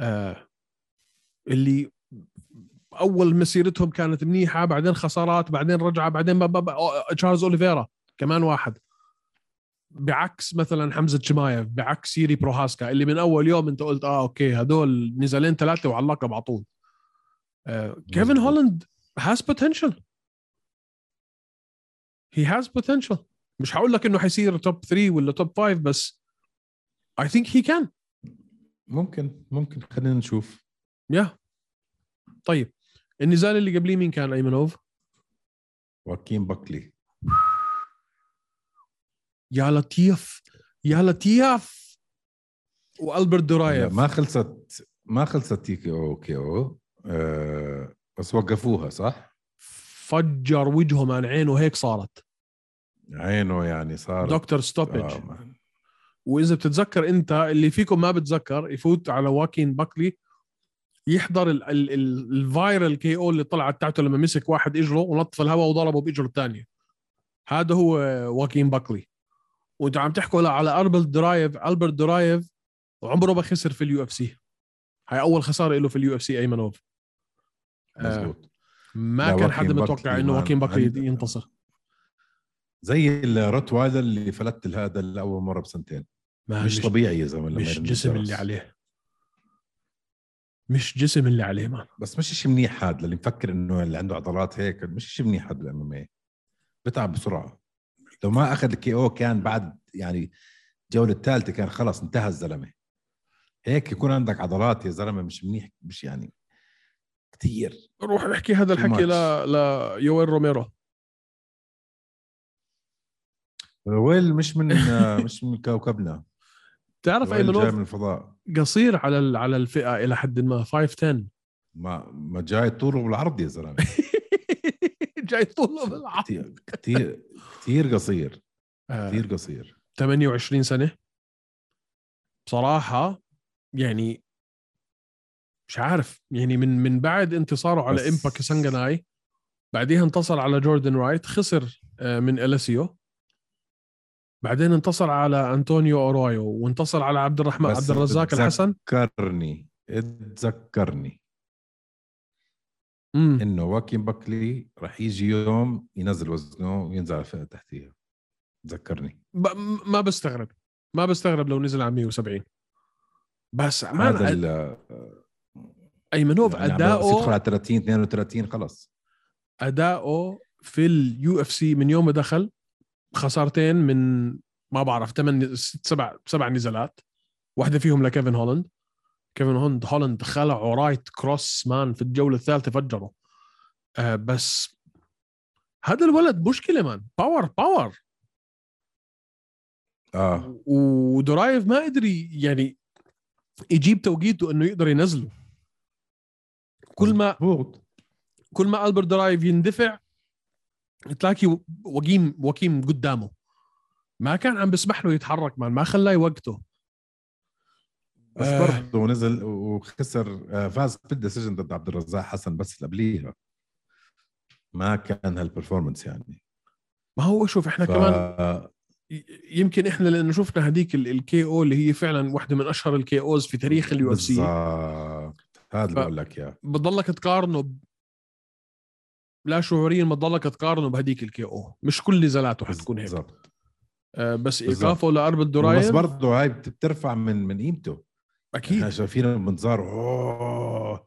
Speaker 2: آه، اللي اول مسيرتهم كانت منيحه بعدين خسارات بعدين رجعه بعدين بابا بابا تشارلز اوليفيرا كمان واحد بعكس مثلا حمزه شمايف بعكس ييري بروهاسكا اللي من اول يوم انت قلت اه اوكي هدول نزالين ثلاثه وعلى اللقب على طول آه، كيفن
Speaker 3: مظبوط.
Speaker 2: هولاند هاز بوتنشل هي هاز بوتنشل مش هقول لك انه حيصير توب 3 ولا توب 5 بس اي ثينك هي كان
Speaker 3: ممكن ممكن خلينا نشوف
Speaker 2: يا طيب النزال اللي قبليه مين كان ايمنوف؟
Speaker 3: واكين باكلي
Speaker 2: يا لطيف يا لطيف والبرت
Speaker 3: لا،
Speaker 2: دورايف
Speaker 3: ما خلصت ما خلصت تي كي او كي او آه بس وقفوها صح؟
Speaker 2: فجر وجهه من عينه هيك صارت
Speaker 3: عينه يعني صار
Speaker 2: دكتور ستوبج
Speaker 3: آه ما-
Speaker 2: واذا بتتذكر انت اللي فيكم ما بتذكر يفوت على واكين باكلي يحضر ال- ال- ال- الفايرال كي او اللي طلعت تاعته لما مسك واحد اجره ونط في الهواء وضربه باجره الثانيه هذا هو واكين باكلي وانتوا عم تحكوا لا على البرت درايف البرت درايف وعمره ما خسر في اليو اف سي هاي اول خساره له في اليو اف سي ايمنوف آه.
Speaker 3: مزبوط
Speaker 2: ما
Speaker 3: لا،
Speaker 2: كان حدا
Speaker 3: واكين
Speaker 2: متوقع
Speaker 3: باكلي
Speaker 2: انه
Speaker 3: ما-
Speaker 2: واكين باكلي
Speaker 3: عنده-
Speaker 2: ينتصر
Speaker 3: زي الروت وايلر اللي فلت هذا لاول مره بسنتين
Speaker 2: ما
Speaker 3: مش طبيعي يا زلمه لما
Speaker 2: آه، مش
Speaker 3: يرمي
Speaker 2: جسم
Speaker 3: الجرس.
Speaker 2: اللي عليه مش جسم اللي عليه مان
Speaker 3: بس مش شيء منيح هذا اللي مفكر انه اللي عنده عضلات هيك مش شيء منيح هذا الام ام بتعب بسرعه لو ما اخذ الكي او كان بعد يعني الجوله الثالثه كان خلص انتهى الزلمه هيك يكون عندك عضلات يا زلمه مش منيح مش يعني كثير
Speaker 2: روح احكي هذا
Speaker 3: Too
Speaker 2: الحكي
Speaker 3: much.
Speaker 2: ل ليويل روميرو
Speaker 3: ويل مش من مش من كوكبنا
Speaker 2: تعرف
Speaker 3: ويل جاي
Speaker 2: ايمنوف
Speaker 3: من الفضاء
Speaker 2: قصير على ال- على الفئه الى حد ما
Speaker 3: [laughs]
Speaker 2: 5'10
Speaker 3: ما ما جاي طوله بالعرض يا زلمه
Speaker 2: جاي طوله بالعرض
Speaker 3: كثير كثير كثير قصير
Speaker 2: آه،
Speaker 3: كثير قصير
Speaker 2: 28 سنه بصراحه يعني مش عارف يعني من من بعد انتصاره على
Speaker 3: بس-
Speaker 2: امبا كسنجناي بعديها انتصر على جوردن رايت خسر آه، من اليسيو بعدين انتصر على انطونيو اورايو وانتصر على عبد الرحمن
Speaker 3: بس
Speaker 2: عبد الرزاق
Speaker 3: بتذك-
Speaker 2: الحسن
Speaker 3: ذكرني اتذكرني
Speaker 2: مم.
Speaker 3: انه واكين باكلي رح يجي يوم ينزل وزنه وينزل على الفئه التحتيه تذكرني
Speaker 2: ب... م- ما بستغرب ما بستغرب لو نزل على 170 بس مان
Speaker 3: هذا
Speaker 2: أ-
Speaker 3: ال-
Speaker 2: ايمنوف
Speaker 3: يعني عم بس يدخل
Speaker 2: اداؤه
Speaker 3: على 30 32 خلص
Speaker 2: اداؤه في اليو اف سي من يوم ما دخل خسارتين من ما بعرف ثمان سبع سبع نزالات واحده فيهم لكيفن هولاند كيفن هولاند هولاند خلعه رايت كروس مان في الجوله الثالثه فجره آه بس هذا الولد مشكله مان باور باور
Speaker 3: اه
Speaker 2: ودرايف ما قدر ي- يعني يجيب توقيته انه يقدر ينزله كل ما
Speaker 3: مزبوط
Speaker 2: كل ما البرت درايف يندفع تلاقي وكيم وكيم قدامه ما كان عم بسمح له يتحرك مان ما خلاه يوقته
Speaker 3: بس
Speaker 2: آه.
Speaker 3: برضه نزل وخسر آه، فاز بالديسيجن ضد عبد الرزاق حسن بس اللي قبليها ما كان هالبرفورمنس يعني
Speaker 2: ما هو شوف احنا
Speaker 3: ف...
Speaker 2: كمان ي- يمكن احنا لانه شفنا هذيك الكي او اللي هي فعلا واحده من اشهر الكي اوز في تاريخ اليو اف سي
Speaker 3: بالظبط هذا
Speaker 2: ف-
Speaker 3: اللي بقول لك اياه
Speaker 2: بتضلك تقارنه ب... لا شعوريا بتضلك تقارنه بهديك الكي او مش كل نزالاته حتكون هيك
Speaker 3: بالظبط
Speaker 2: آه بس
Speaker 3: بالظبط.
Speaker 2: ايقافه لاربد
Speaker 3: بس
Speaker 2: دورايف
Speaker 3: برضه هاي بت- بترفع من من قيمته احنا
Speaker 2: اكيد
Speaker 3: شايفين منظار اوه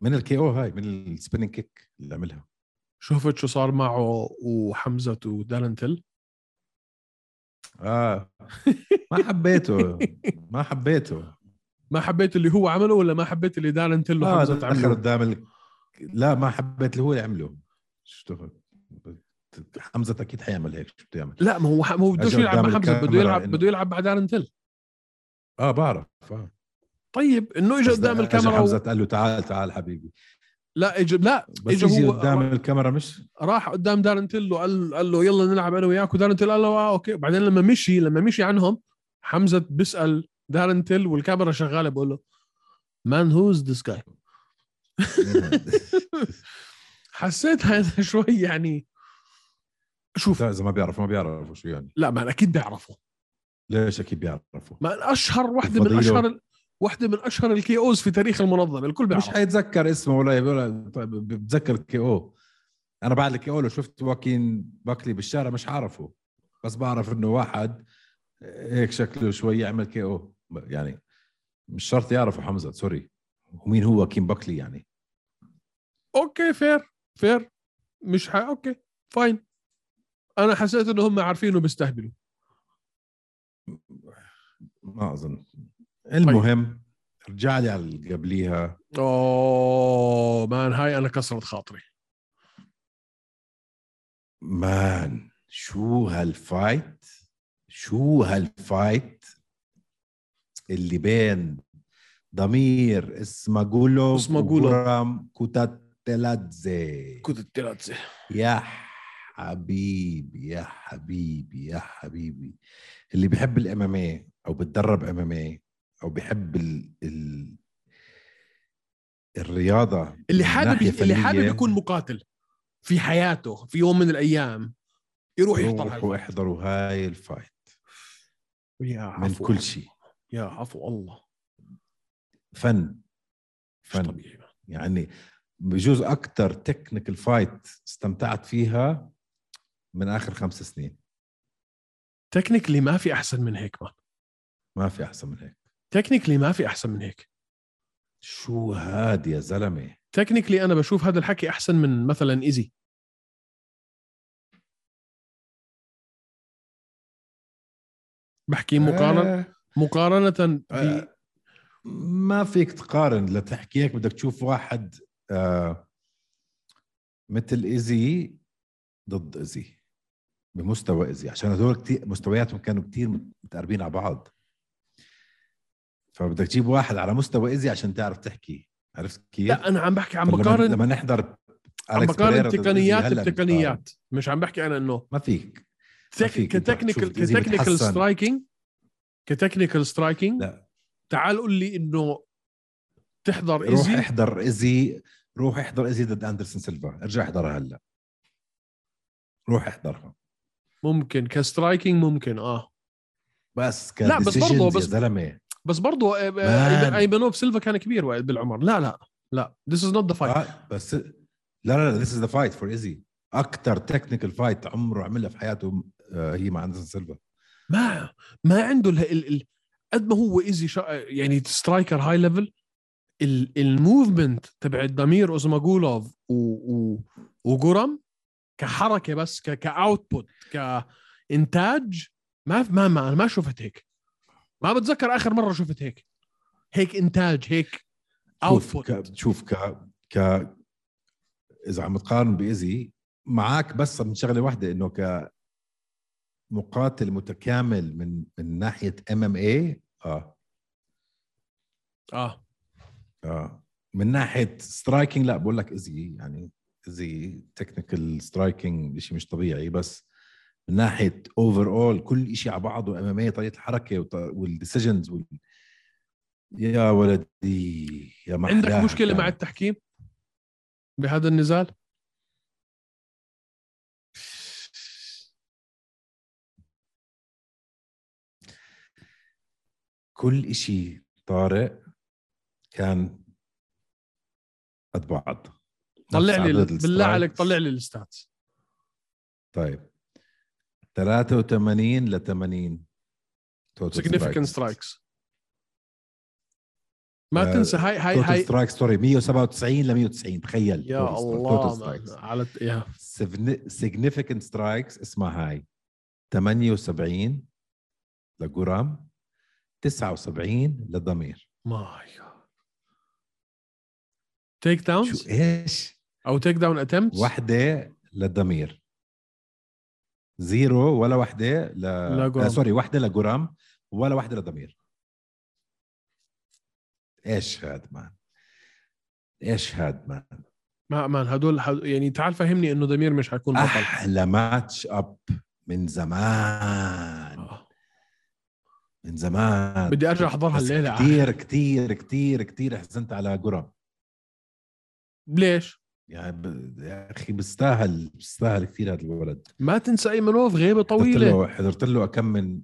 Speaker 3: من الكي او هاي من السبيننج كيك اللي عملها
Speaker 2: شفت شو صار معه وحمزه ودالنتل [laughs]
Speaker 3: اه ما حبيته ما حبيته
Speaker 2: ما حبيت اللي هو عمله ولا ما حبيت اللي دالنتل
Speaker 3: لا
Speaker 2: وحمزه
Speaker 3: دخل
Speaker 2: عمله
Speaker 3: آه، قدام ال... لا ما حبيت اللي هو اللي عمله شو حمزه اكيد حيعمل هيك شو بده يعمل
Speaker 2: لا ما هو ما هو بدوش
Speaker 3: أجل
Speaker 2: يلعب مع
Speaker 3: قدام
Speaker 2: حمزه بده
Speaker 3: الكاميرا
Speaker 2: يلعب
Speaker 3: إنه-
Speaker 2: بده يلعب مع دالنتل
Speaker 3: اه بعرف آه.
Speaker 2: طيب انه اجى
Speaker 3: بس
Speaker 2: قدام
Speaker 3: إجا
Speaker 2: الكاميرا و...
Speaker 3: حمزه قال له تعال تعال حبيبي
Speaker 2: لا اجى لا
Speaker 3: بس
Speaker 2: إجا
Speaker 3: يجي
Speaker 2: هو-
Speaker 3: قدام الكاميرا مش
Speaker 2: راح قدام دارنتل وقال قال له يلا نلعب انا وياك ودارنتل قال له اه اوكي بعدين لما مشي لما مشي عنهم حمزه بيسال دارنتل والكاميرا شغاله بقول له مان هوز ذيس جاي حسيت هذا [laughs] شوي يعني [laughs] شوف
Speaker 3: لا اذا ما بيعرف ما بيعرفوا شو يعني
Speaker 2: لا ما اكيد بيعرفه
Speaker 3: ليش اكيد بيعرفوا
Speaker 2: ما اشهر واحده من
Speaker 3: فضيله.
Speaker 2: اشهر واحده من اشهر الكي اوز في تاريخ المنظمه الكل
Speaker 3: مش
Speaker 2: بيعرف
Speaker 3: حيتذكر اسمه ولا ولا- طيب بتذكر كي او انا بعد الكي او لو شفت واكين باكلي بالشارع مش عارفه بس بعرف انه واحد هيك شكله شوي يعمل كي او يعني مش شرط يعرفه حمزه سوري ومين هو واكين باكلي يعني
Speaker 2: اوكي فير فير مش ح... اوكي فاين انا حسيت انه هم عارفينه بيستهبلوا
Speaker 3: ما اظن المهم رجع لي على اللي قبليها
Speaker 2: اوه مان هاي انا كسرت خاطري
Speaker 3: مان شو هالفايت شو هالفايت اللي بين ضمير اسماغولوف
Speaker 2: إسماغولوف.
Speaker 3: وغرام كوتاتلادزي
Speaker 2: كنت الثلاثه
Speaker 3: يا حبيبي يا حبيبي يا حبيبي اللي بيحب الامامية او بتدرب امامية او بيحب ال... ال... الرياضة من
Speaker 2: اللي حابب
Speaker 3: ناحية
Speaker 2: اللي حابب
Speaker 3: فنية،
Speaker 2: يكون مقاتل في حياته في يوم من الايام يروح يحضر هاي
Speaker 3: روحوا
Speaker 2: الفايت.
Speaker 3: احضروا هاي الفايت
Speaker 2: يا
Speaker 3: من
Speaker 2: عفو
Speaker 3: كل شيء
Speaker 2: يا عفو الله
Speaker 3: فن
Speaker 2: مش
Speaker 3: فن
Speaker 2: طبيعي
Speaker 3: يعني بجوز اكثر تكنيكال فايت استمتعت فيها من اخر خمس سنين
Speaker 2: تكنيكلي ما في احسن من هيك مان
Speaker 3: ما في احسن من هيك
Speaker 2: تكنيكلي ما في احسن من هيك
Speaker 3: شو هاد يا زلمه
Speaker 2: تكنيكلي انا بشوف هذا الحكي احسن من مثلا ايزي بحكي مقارنه
Speaker 3: آه،
Speaker 2: مقارنه ب...
Speaker 3: آه، ما فيك تقارن لتحكي هيك بدك تشوف واحد آه مثل ايزي ضد ايزي بمستوى ايزي عشان هذول كتير مستوياتهم كانوا كتير متقاربين على بعض فبدك تجيب واحد على مستوى ايزي عشان تعرف تحكي عرفت كيف؟
Speaker 2: لا انا عم بحكي عم
Speaker 3: فلما-
Speaker 2: بقارن
Speaker 3: لما نحضر
Speaker 2: عم
Speaker 3: أليكس
Speaker 2: بقارن
Speaker 3: بيريرا ضد
Speaker 2: تقنيات
Speaker 3: إيزي هلا بنقارن.
Speaker 2: بتقنيات مش عم بحكي انا انه
Speaker 3: ما فيك
Speaker 2: تك...
Speaker 3: فيك، أنت
Speaker 2: كتكنيكال
Speaker 3: بتشوف إيزي
Speaker 2: كتكنيكال
Speaker 3: بتحسن.
Speaker 2: سترايكينج كتكنيكال سترايكينج
Speaker 3: لا.
Speaker 2: تعال قول لي انه تحضر
Speaker 3: روح
Speaker 2: ايزي
Speaker 3: احضر ايزي روح احضر ايزي ضد اندرسون سيلفا ارجع احضرها هلا روح احضرها
Speaker 2: ممكن كسترايكينج ممكن اه
Speaker 3: بس كان
Speaker 2: لا، بس برضه-
Speaker 3: decisions
Speaker 2: بس-
Speaker 3: يا زلمه
Speaker 2: بس برضه آه، آه،
Speaker 3: مان.
Speaker 2: ايمنوف سيلفا كان كبير وقت بالعمر لا لا لا ذيس از نوت ذا فايت
Speaker 3: آه بس لا لا لا ذيس از ذا فايت فور ايزي اكثر تكنيكال فايت عمره عملها في حياته آه، هي مع اندرسون سيلفا
Speaker 2: ما ما عنده ال... ال... ال... قد ما هو ايزي شا... يعني سترايكر هاي ليفل ال... الموفمنت تبع الضمير اوزماجولوف و... و... وجرم كحركه بس ك... كاوتبوت كانتاج ما ما ما انا ما شفت هيك ما بتذكر اخر مره شفت هيك هيك انتاج هيك
Speaker 3: شوف
Speaker 2: اوتبوت
Speaker 3: ك... شوف ك... ك اذا عم تقارن بايزي معك بس من شغله واحده انه ك مقاتل متكامل من من ناحيه ام ام اي اه
Speaker 2: اه
Speaker 3: اه من ناحيه سترايكنج لا بقول لك ايزي يعني ايزي تكنيكال سترايكنج شيء مش طبيعي بس من ناحيه اوفر اول كل شيء على بعضه ام ام طريقه الحركه والديسيجنز وال... يا ولدي يا محلاها
Speaker 2: عندك مشكله مع التحكيم بهذا النزال
Speaker 3: كل إشي طارق كان قد بعض
Speaker 2: طلع
Speaker 3: نفس
Speaker 2: لي
Speaker 3: عدد
Speaker 2: بالله عليك
Speaker 3: السترايكس.
Speaker 2: طلع لي الستاتس
Speaker 3: طيب 83 ل 80 total
Speaker 2: سيجنيفيكنت
Speaker 3: strikes.
Speaker 2: سترايكس ما
Speaker 3: آه،
Speaker 2: تنسى هاي هاي
Speaker 3: توتال
Speaker 2: هاي
Speaker 3: سترايك سوري 197 ل 190 تخيل
Speaker 2: يا الله مان، على يا
Speaker 3: سيجنيفيكنت سترايكس اسمها هاي 78 لجرام 79 للضمير
Speaker 2: ماي جاد تيك داونز
Speaker 3: شو ايش؟
Speaker 2: او تيك داون اتمبتس
Speaker 3: وحده للضمير زيرو ولا وحده ل...
Speaker 2: لجرام.
Speaker 3: آه سوري وحده لجرام ولا وحده للضمير ايش هاد مان ايش هاد مان
Speaker 2: ما مان هدول هدول- يعني تعال فهمني انه ضمير مش
Speaker 3: آه،
Speaker 2: حيكون بطل
Speaker 3: احلى ماتش اب من زمان
Speaker 2: آه.
Speaker 3: من زمان
Speaker 2: بدي ارجع احضرها
Speaker 3: بس
Speaker 2: الليله
Speaker 3: كتير كتير كتير كتير حزنت على جرام
Speaker 2: آه. ليش؟
Speaker 3: يعني ب... يا اخي بيستاهل بيستاهل كثير هذا الولد
Speaker 2: ما تنسى ايمنوف غيبه
Speaker 3: حضرت
Speaker 2: طويله
Speaker 3: له حضرت له كم من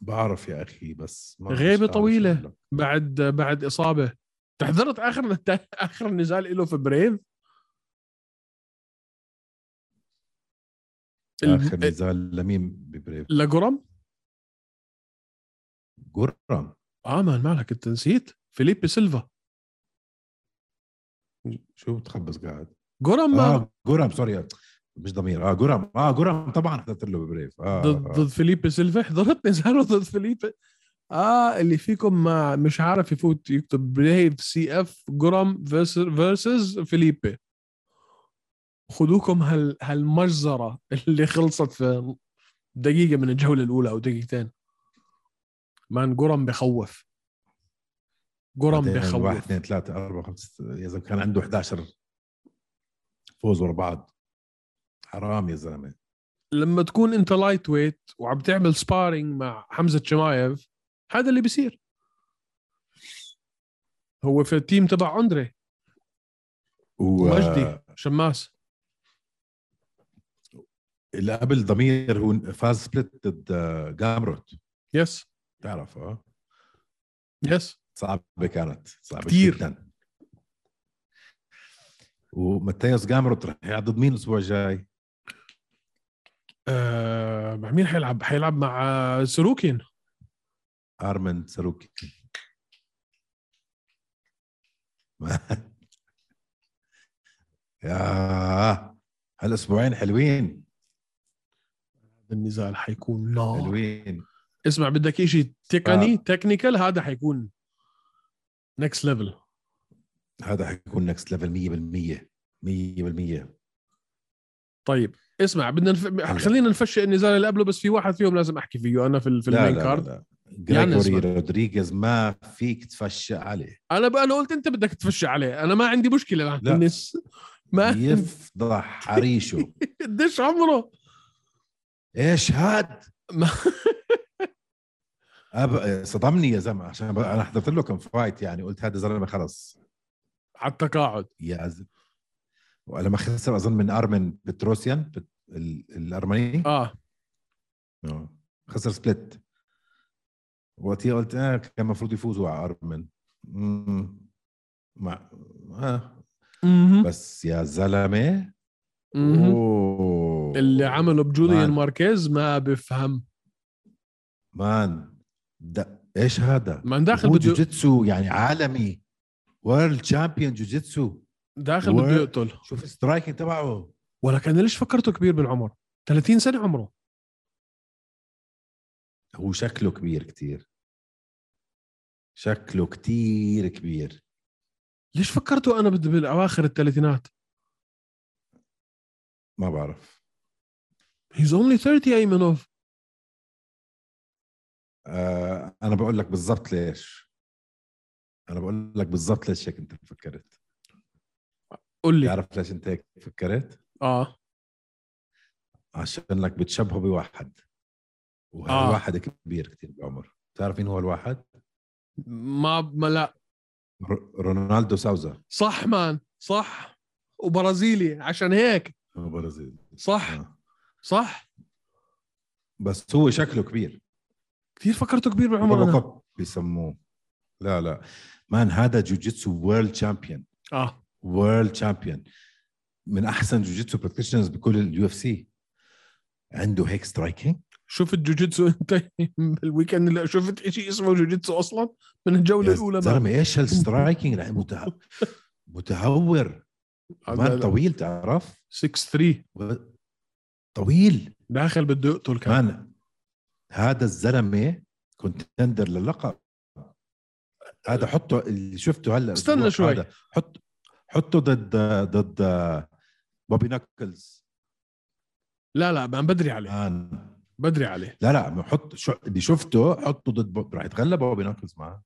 Speaker 3: بعرف يا اخي بس ما
Speaker 2: غيبة
Speaker 3: بعرف شو
Speaker 2: طويلة.
Speaker 3: أعمل.
Speaker 2: بعد بعد اصابه تحضرت اخر اخر نزال له في بريف
Speaker 3: اخر
Speaker 2: ال-
Speaker 3: نزال لمين ببريف
Speaker 2: لجرم
Speaker 3: جرام
Speaker 2: اه مان مالك انت نسيت فيليبي سيلفا
Speaker 3: شو بتخبص قاعد
Speaker 2: جرم مان
Speaker 3: اه جرام سوري مش ضمير اه جرام اه جرام طبعا حضرت له ببريف اه
Speaker 2: ضد
Speaker 3: آه.
Speaker 2: ضد فيليبي سيلفا حضرت نزاله ضد فيليبي اه اللي فيكم ما مش عارف يفوت يكتب بريف سي اف جرام فيرسز فيليبي خذوكم هال هالمجزره اللي خلصت في دقيقه من الجوله الاولى او دقيقتين مان جرام بخوف جرام
Speaker 3: بعدين يعني واحد
Speaker 2: بخوف
Speaker 3: اثنين ثلاثة أربعة خمسة يا زلمة كان عنده 11 فوز ورا بعض حرام يا زلمة
Speaker 2: لما تكون انت لايت ويت وعم تعمل سبارينج مع حمزه شمايف هذا اللي بيصير هو في التيم تبع اندري
Speaker 3: و-
Speaker 2: ومجدي شماس
Speaker 3: اللي قبل ضمير هو فاز سبليت ضد آه، جامروت
Speaker 2: يس
Speaker 3: تعرف اه
Speaker 2: يس
Speaker 3: صعبة كانت صعبة
Speaker 2: كتير.
Speaker 3: كتير جدا وماتياس جامروت رح يلعب ضد مين الاسبوع الجاي؟
Speaker 2: آه مع مين حيلعب؟ حيلعب مع آه، سلوكين
Speaker 3: ارمن ساروكي ما- [laughs] يا هالاسبوعين حلوين
Speaker 2: النزال حيكون نار
Speaker 3: حلوين
Speaker 2: اسمع بدك شيء تقني
Speaker 3: آه.
Speaker 2: تكنيكال هذا حيكون نكست ليفل
Speaker 3: هذا حيكون نكست ليفل 100% 100%
Speaker 2: طيب اسمع بدنا نف...
Speaker 3: هلا.
Speaker 2: خلينا نفشي النزال اللي قبله بس في واحد فيهم لازم احكي فيه انا في, ال- في
Speaker 3: لا
Speaker 2: المين
Speaker 3: لا
Speaker 2: كارد
Speaker 3: لا
Speaker 2: يعني
Speaker 3: جريجوري رودريغيز ما فيك تفشى عليه
Speaker 2: انا بقى انا قلت انت بدك تفش عليه انا ما عندي مشكله مع
Speaker 3: لا.
Speaker 2: النس
Speaker 3: [laughs]
Speaker 2: ما [laughs]
Speaker 3: يفضح حريشه
Speaker 2: قديش عمره
Speaker 3: ايش هاد؟
Speaker 2: ما-
Speaker 3: [laughs] أب... صدمني يا زلمه عشان ب... انا حضرت له كم فايت يعني قلت هذا زلمه خلص
Speaker 2: على التقاعد
Speaker 3: يا أز... ولما خسر اظن من ارمن بتروسيان بت... ال... الارمني
Speaker 2: اه
Speaker 3: آه. خسر سبليت وقتها قلت اه كان المفروض يفوزوا على ارمن مم. مع آه.
Speaker 2: مهم.
Speaker 3: بس يا زلمه
Speaker 2: مهم.
Speaker 3: أوه.
Speaker 2: اللي عمله بجوليان
Speaker 3: مان.
Speaker 2: ماركيز ما بفهم
Speaker 3: مان ده ايش هذا؟
Speaker 2: ما داخل
Speaker 3: هو
Speaker 2: بده
Speaker 3: جوجيتسو يعني عالمي وورلد تشامبيون جوجيتسو
Speaker 2: داخل
Speaker 3: و-
Speaker 2: بده يقتل
Speaker 3: شوف السترايكنج تبعه
Speaker 2: ولكن أنا ليش فكرته كبير بالعمر 30 سنه عمره
Speaker 3: هو شكله كبير كتير شكله كتير كبير
Speaker 2: ليش فكرته انا بدي بالاواخر الثلاثينات
Speaker 3: ما بعرف
Speaker 2: هيز اونلي 30 ايمنوف
Speaker 3: آه انا بقول لك بالضبط ليش انا بقول لك بالضبط ليش هيك انت فكرت
Speaker 2: قول لي آه.
Speaker 3: تعرف ليش انت هيك فكرت
Speaker 2: اه
Speaker 3: عشان لك بتشبهه بواحد وهذا
Speaker 2: آه.
Speaker 3: آه. واحد كبير كثير بالعمر بتعرف مين هو الواحد؟
Speaker 2: ما ما لا
Speaker 3: ر- رونالدو ساوزا
Speaker 2: صح مان صح وبرازيلي عشان هيك
Speaker 3: هو برازيلي
Speaker 2: صح
Speaker 3: آه.
Speaker 2: صح
Speaker 3: بس هو شكله كبير
Speaker 2: كثير فكرته كبير بالعمر
Speaker 3: بابا
Speaker 2: انا
Speaker 3: كاب بيسموه لا لا مان هذا جوجيتسو وورلد شامبيون
Speaker 2: اه
Speaker 3: وورلد شامبيون من احسن جوجيتسو براكتيشنرز بكل اليو اف سي عنده هيك سترايكينج
Speaker 2: شفت جوجيتسو [laughs] انت بالويكند اللي شفت شيء اسمه جوجيتسو اصلا من الجوله
Speaker 3: يا
Speaker 2: الاولى مان.
Speaker 3: زلمه ايش هالسترايكينج لا، مته-
Speaker 2: [laughs]
Speaker 3: متهور مان طويل تعرف
Speaker 2: 6 3
Speaker 3: طويل
Speaker 2: داخل بده يقتل كان
Speaker 3: مان هذا الزلمه كونتندر للقب هذا حطه اللي شفته هلا
Speaker 2: استنى شوي.
Speaker 3: هذا حط حطه ضد ضد بوبي ناكلز
Speaker 2: لا لا ما بدري عليه
Speaker 3: مان
Speaker 2: بدري عليه
Speaker 3: لا لا حط شو اللي شفته حطه ضد بوب راح يتغلب بوبي ناكلز معاه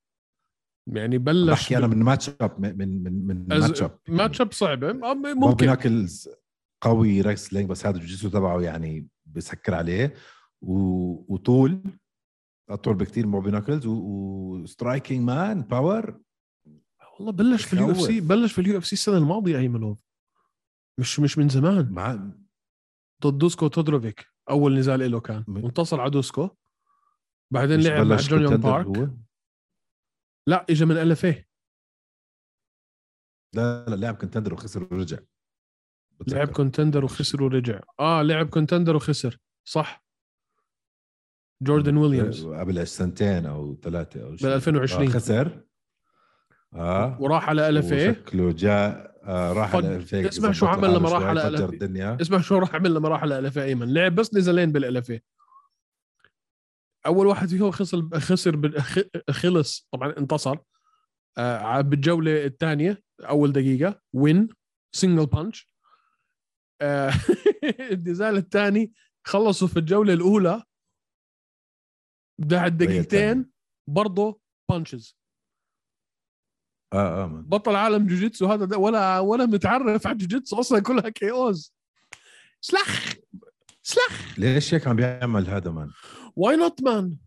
Speaker 2: يعني بلش
Speaker 3: بحكي انا من ماتش اب من من من
Speaker 2: أز-
Speaker 3: ماتش اب
Speaker 2: ماتش اب صعبه آه،
Speaker 3: بوبي
Speaker 2: ممكن
Speaker 3: ناكلز قوي ريسلينج بس هذا الجوجيتسو تبعه يعني بسكر عليه و... وطول اطول بكثير من بوبي ناكلز و... وسترايكينج مان باور
Speaker 2: والله بلش في اليو اف سي
Speaker 3: بخوف.
Speaker 2: بلش في اليو اف سي السنه الماضيه ايمنوف مش مش من زمان
Speaker 3: مع
Speaker 2: ضد دوسكو تودروفيك اول نزال له كان
Speaker 3: م-
Speaker 2: وانتصر على دوسكو بعدين
Speaker 3: مش
Speaker 2: لعب مع
Speaker 3: بلش
Speaker 2: جون يونغ
Speaker 3: contender
Speaker 2: بارك
Speaker 3: هو؟
Speaker 2: لا اجى من ال إيه. اف
Speaker 3: لا لا لعب كونتندر وخسر ورجع بتذكر.
Speaker 2: لعب كونتندر وخسر ورجع اه لعب كونتندر وخسر صح جوردن ويليامز
Speaker 3: قبل سنتين او ثلاثه او شيء
Speaker 2: بال 2020
Speaker 3: آه خسر اه
Speaker 2: وراح على ال اف
Speaker 3: شكله جاء آه راح
Speaker 2: فج-
Speaker 3: على الفيك
Speaker 2: إيه؟ اسمع شو عمل لما راح على
Speaker 3: فجر
Speaker 2: LFA.
Speaker 3: الدنيا
Speaker 2: اسمع شو راح عمل لما راح للألفة ايمن لعب بس نزلين بالألفة اول واحد فيهم خسر خسر بال- خ- خلص طبعا انتصر آه، ع- بالجوله الثانيه اول دقيقه وين سنجل بانش آه، [laughs] النزال الثاني خلصوا في الجوله الاولى بعد
Speaker 3: هي
Speaker 2: دقيقتين
Speaker 3: الثانية.
Speaker 2: برضه بانشز
Speaker 3: اه اه من.
Speaker 2: بطل عالم جوجيتسو هذا ده ولا ولا متعرف على جوجيتسو اصلا كلها كي اوز سلخ سلخ
Speaker 3: ليش هيك عم بيعمل هذا مان
Speaker 2: واي نوت مان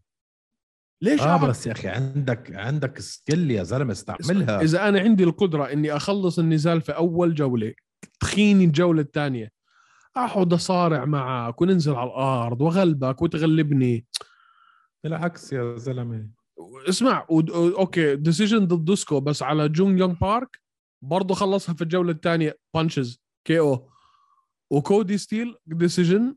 Speaker 2: ليش
Speaker 3: اه
Speaker 2: آه
Speaker 3: بس يا اخي عندك عندك سكيل يا زلمه استعملها
Speaker 2: اذا انا عندي القدره اني اخلص النزال في اول جوله تخيني الجوله الثانيه اقعد اصارع معك وننزل على الارض واغلبك وتغلبني
Speaker 3: بالعكس يا زلمه
Speaker 2: اسمع ود- اوكي ديسيجن ضد دوسكو بس على جون يونغ بارك برضه خلصها في الجوله الثانيه بانشز كي او وكودي ستيل ديسيجن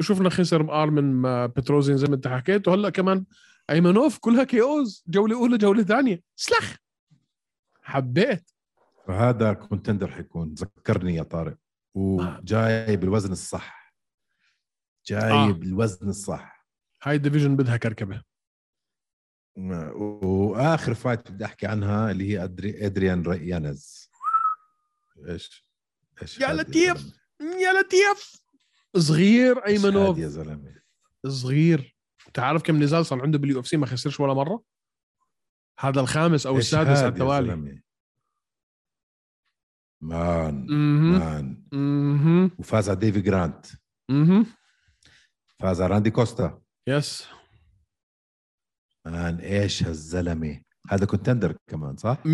Speaker 2: شفنا خسر مقار من آه، بتروزين زي ما انت حكيت وهلا كمان ايمنوف كلها كي اوز جوله اولى جوله ثانيه سلخ حبيت
Speaker 3: فهذا كونتندر حيكون ذكرني يا طارق وجاي بالوزن الصح جاي
Speaker 2: آه.
Speaker 3: آه. بالوزن الصح
Speaker 2: هاي الديفيجن بدها كركبه
Speaker 3: ما- و- واخر فايت بدي احكي عنها اللي هي أدري ادريان ريانز ايش ايش
Speaker 2: يا
Speaker 3: هاد
Speaker 2: لطيف.
Speaker 3: زلمة؟
Speaker 2: يا لطيف صغير
Speaker 3: إيش هاد
Speaker 2: ايمنوف
Speaker 3: يا زلمه
Speaker 2: صغير تعرف كم نزال صار عنده باليو اف سي ما خسرش ولا مره هذا الخامس او
Speaker 3: إيش
Speaker 2: السادس
Speaker 3: هاد
Speaker 2: على
Speaker 3: يا
Speaker 2: التوالي
Speaker 3: زلمة؟ مان
Speaker 2: اها
Speaker 3: مان
Speaker 2: اها
Speaker 3: وفاز على ديفي جرانت
Speaker 2: اها
Speaker 3: فاز على راندي كوستا
Speaker 2: يس
Speaker 3: مان ايش هالزلمه هذا كونتندر كمان صح؟
Speaker 2: 100% 100%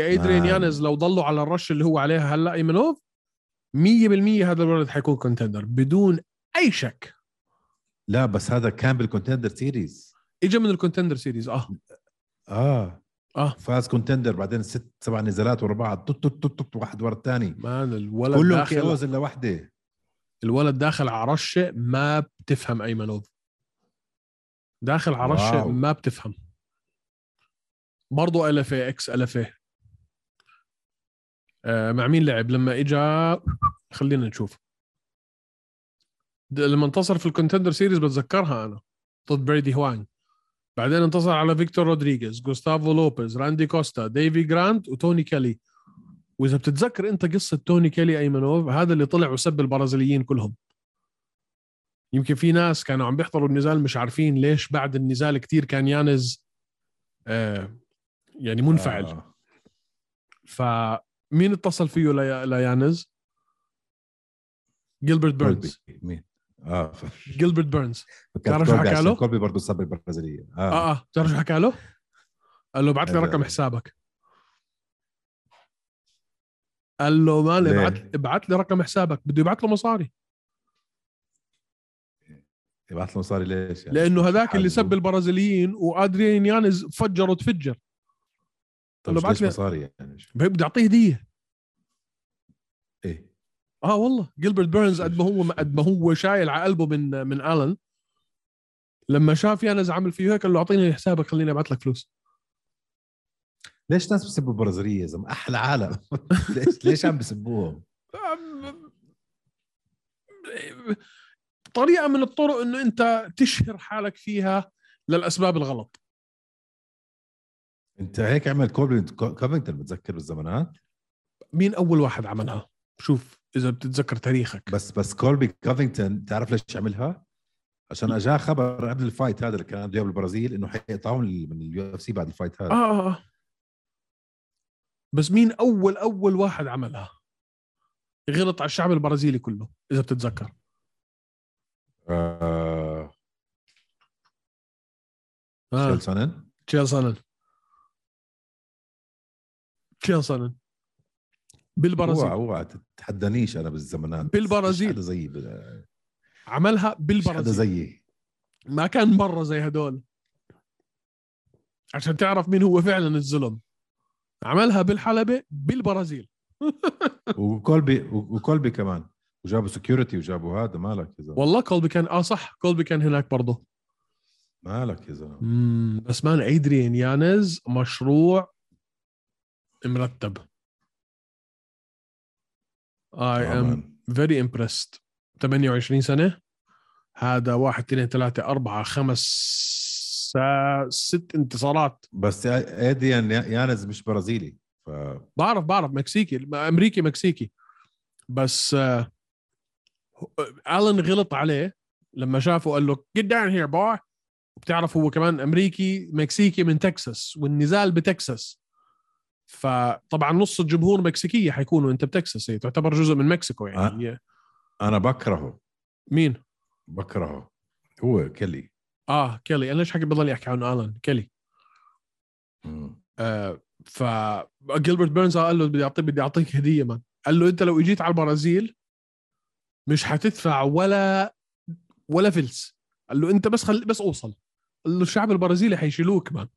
Speaker 2: ادريان
Speaker 3: نعم.
Speaker 2: يانز لو ضلوا على الرش اللي هو عليها هلا ايمنوف 100% هذا الولد حيكون كونتندر بدون اي شك
Speaker 3: لا بس هذا كان بالكونتندر سيريز
Speaker 2: اجى من الكونتندر سيريز اه
Speaker 3: اه
Speaker 2: آه.
Speaker 3: فاز كونتندر بعدين ست سبع نزالات ورا بعض طط طط طط طط واحد ورا الثاني
Speaker 2: مان الولد
Speaker 3: كلهم
Speaker 2: داخل
Speaker 3: كيوز الا وحده
Speaker 2: الولد داخل على رشه ما بتفهم ايمنوف داخل على رشه
Speaker 3: واو.
Speaker 2: ما بتفهم برضه الفا اكس الفا آه مع مين لعب لما اجى خلينا نشوف د- لما انتصر في الكونتندر سيريز بتذكرها انا ضد بريدي هوان بعدين انتصر على فيكتور رودريغيز جوستافو لوبيز راندي كوستا ديفي جرانت وتوني كالي واذا بتتذكر انت قصه توني كالي ايمنوف هذا اللي طلع وسب البرازيليين كلهم يمكن في ناس كانوا عم بيحضروا النزال مش عارفين ليش بعد النزال كتير كان يانز آه يعني منفعل
Speaker 3: آه.
Speaker 2: فمين اتصل فيه لي- ليانز جيلبرت بيرنز
Speaker 3: كولبي. آه، مين اه ف-
Speaker 2: جيلبرت بيرنز
Speaker 3: فكرت
Speaker 2: بتعرف شو
Speaker 3: كولبي
Speaker 2: حكى
Speaker 3: عشان
Speaker 2: له؟
Speaker 3: كولبي برضه السبة البرازيلية اه,
Speaker 2: اه اه بتعرف شو حكى له؟ قال له ابعث لي
Speaker 3: آه.
Speaker 2: رقم حسابك قال له مان
Speaker 3: ليه؟
Speaker 2: ابعث ابعث لي رقم حسابك بده يبعث له مصاري
Speaker 3: يبعث له مصاري ليش يعني
Speaker 2: لانه هذاك اللي
Speaker 3: حاله.
Speaker 2: سب البرازيليين وادريان يانز فجر وتفجر
Speaker 3: طب
Speaker 2: لو
Speaker 3: ليش
Speaker 2: بعت لي-
Speaker 3: مصاري يعني شو-
Speaker 2: بده يعطيه هديه
Speaker 3: ايه
Speaker 2: اه والله جيلبرت بيرنز قد ما هو قد ما هو شايل على قلبه من من الن لما شاف يانز عامل فيه هيك قال له اعطيني حسابك خليني ابعث لك فلوس
Speaker 3: ليش ناس بسبوا البرازيلية يا زلمة احلى عالم [laughs] ليش ليش عم بسبوهم
Speaker 2: أم- طريقه من الطرق انه انت تشهر حالك فيها للاسباب الغلط
Speaker 3: انت هيك عمل كوبلين كوفينغتون بتذكر بالزمانات
Speaker 2: مين اول واحد عملها شوف اذا بتتذكر تاريخك
Speaker 3: بس بس كولبي كوفينغتون تعرف ليش عملها؟ عشان اجاه خبر قبل الفايت هذا اللي كان عنده إياه بالبرازيل انه حيقطعوه من ال- من اليو اف سي بعد الفايت هذا
Speaker 2: آه, آه, اه بس مين اول اول واحد عملها غلط على الشعب البرازيلي كله اذا بتتذكر
Speaker 3: آه.
Speaker 2: آه.
Speaker 3: شيل سونن
Speaker 2: تشيل سنن تشيل سنن بالبرازيل
Speaker 3: اوعى اوعى تتحدانيش انا بالزمانات
Speaker 2: بالبرازيل.
Speaker 3: مش حدا زيي بال-
Speaker 2: عملها
Speaker 3: مش حدا
Speaker 2: بالبرازيل
Speaker 3: زيي
Speaker 2: [laughs] ما كان برا زي هدول عشان تعرف مين هو فعلا الزلم عملها بالحلبة بالبرازيل
Speaker 3: وكولبي وكولبي كمان وجابوا سكيورتي وجابوا هذا مالك يا زلمه
Speaker 2: والله كولبي كان اه صح كولبي كان هناك برضه
Speaker 3: مالك يا زلمه
Speaker 2: مم، بس مان ادريان يانز مشروع مرتب I
Speaker 3: آه،
Speaker 2: am
Speaker 3: مان.
Speaker 2: فيري امبرست 28 سنه هذا واحد اثنين ثلاثة أربعة خمس سا- ست انتصارات
Speaker 3: بس اديان يانز مش برازيلي ف
Speaker 2: بعرف بعرف مكسيكي أمريكي مكسيكي بس آه، ألن غلط عليه لما شافه قال له get down here boy وبتعرف هو كمان أمريكي مكسيكي من تكساس والنزال بتكساس فطبعا نص الجمهور مكسيكية حيكونوا انت بتكساس هي تعتبر جزء من مكسيكو يعني هي-
Speaker 3: انا بكرهه
Speaker 2: مين
Speaker 3: بكرهه هو كلي
Speaker 2: اه كيلي انا ليش حكي بضلني احكي عن الن كيلي
Speaker 3: مم.
Speaker 2: آه ف جيلبرت بيرنز قال له بدي اعطيك بدي اعطيك هديه مان قال له انت لو اجيت على البرازيل مش حتدفع ولا ولا فلس قال له انت بس خل بس اوصل قال له الشعب البرازيلي حيشيلوك مان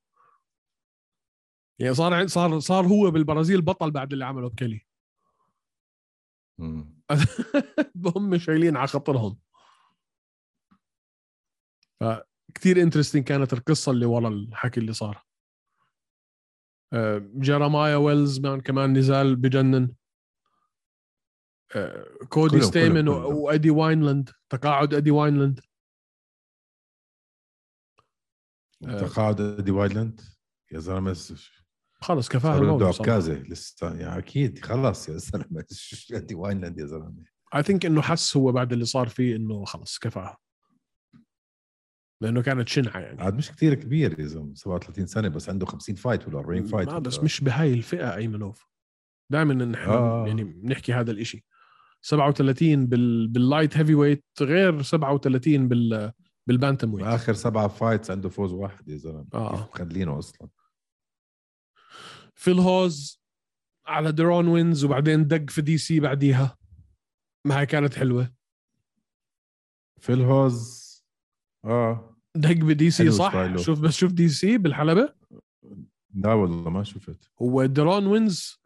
Speaker 2: يعني صار عن- صار صار هو بالبرازيل بطل بعد اللي عمله بكلي
Speaker 3: مم.
Speaker 2: [laughs] هم شايلين على خاطرهم فكتير انترستنج كانت القصه اللي ورا الحكي اللي صار آه، جيرمايا ويلز مان كمان نزال بجنن آه، كودي
Speaker 3: كلهم-
Speaker 2: ستيمن
Speaker 3: كلهم- كلهم.
Speaker 2: و- وادي واينلاند تقاعد ادي واينلاند آه.
Speaker 3: تقاعد دي وايلاند يا زلمه س-
Speaker 2: خلص كفاها
Speaker 3: صار عنده
Speaker 2: الموت صراحة.
Speaker 3: عكازه لسه يعني اكيد خلاص يا زلمه دي وايلاند يا زلمه
Speaker 2: اي ثينك انه حس هو بعد اللي صار فيه انه خلص كفاها لانه كانت شنعه يعني
Speaker 3: عاد مش كثير كبير يا زلمه 37 سنه بس عنده 50 فايت ولا 40 فايت
Speaker 2: ما بس
Speaker 3: ولا-
Speaker 2: مش بهاي الفئه ايمنوف دائما نحن آه.
Speaker 3: آه.
Speaker 2: يعني بنحكي هذا الإشي 37 بال... باللايت هيفي ويت غير 37 بال بالبانتم ويت
Speaker 3: اخر سبعة فايتس عنده فوز واحد يا زلمه
Speaker 2: آه.
Speaker 3: كيف مخلينه اصلا
Speaker 2: في الهوز على درون وينز وبعدين دق في دي سي بعديها ما هي كانت حلوه
Speaker 3: في الهوز اه
Speaker 2: دق بدي سي
Speaker 3: حلو
Speaker 2: صح
Speaker 3: ستايله.
Speaker 2: شوف بس شوف دي سي بالحلبه
Speaker 3: لا والله ما شفت
Speaker 2: ودرون وينز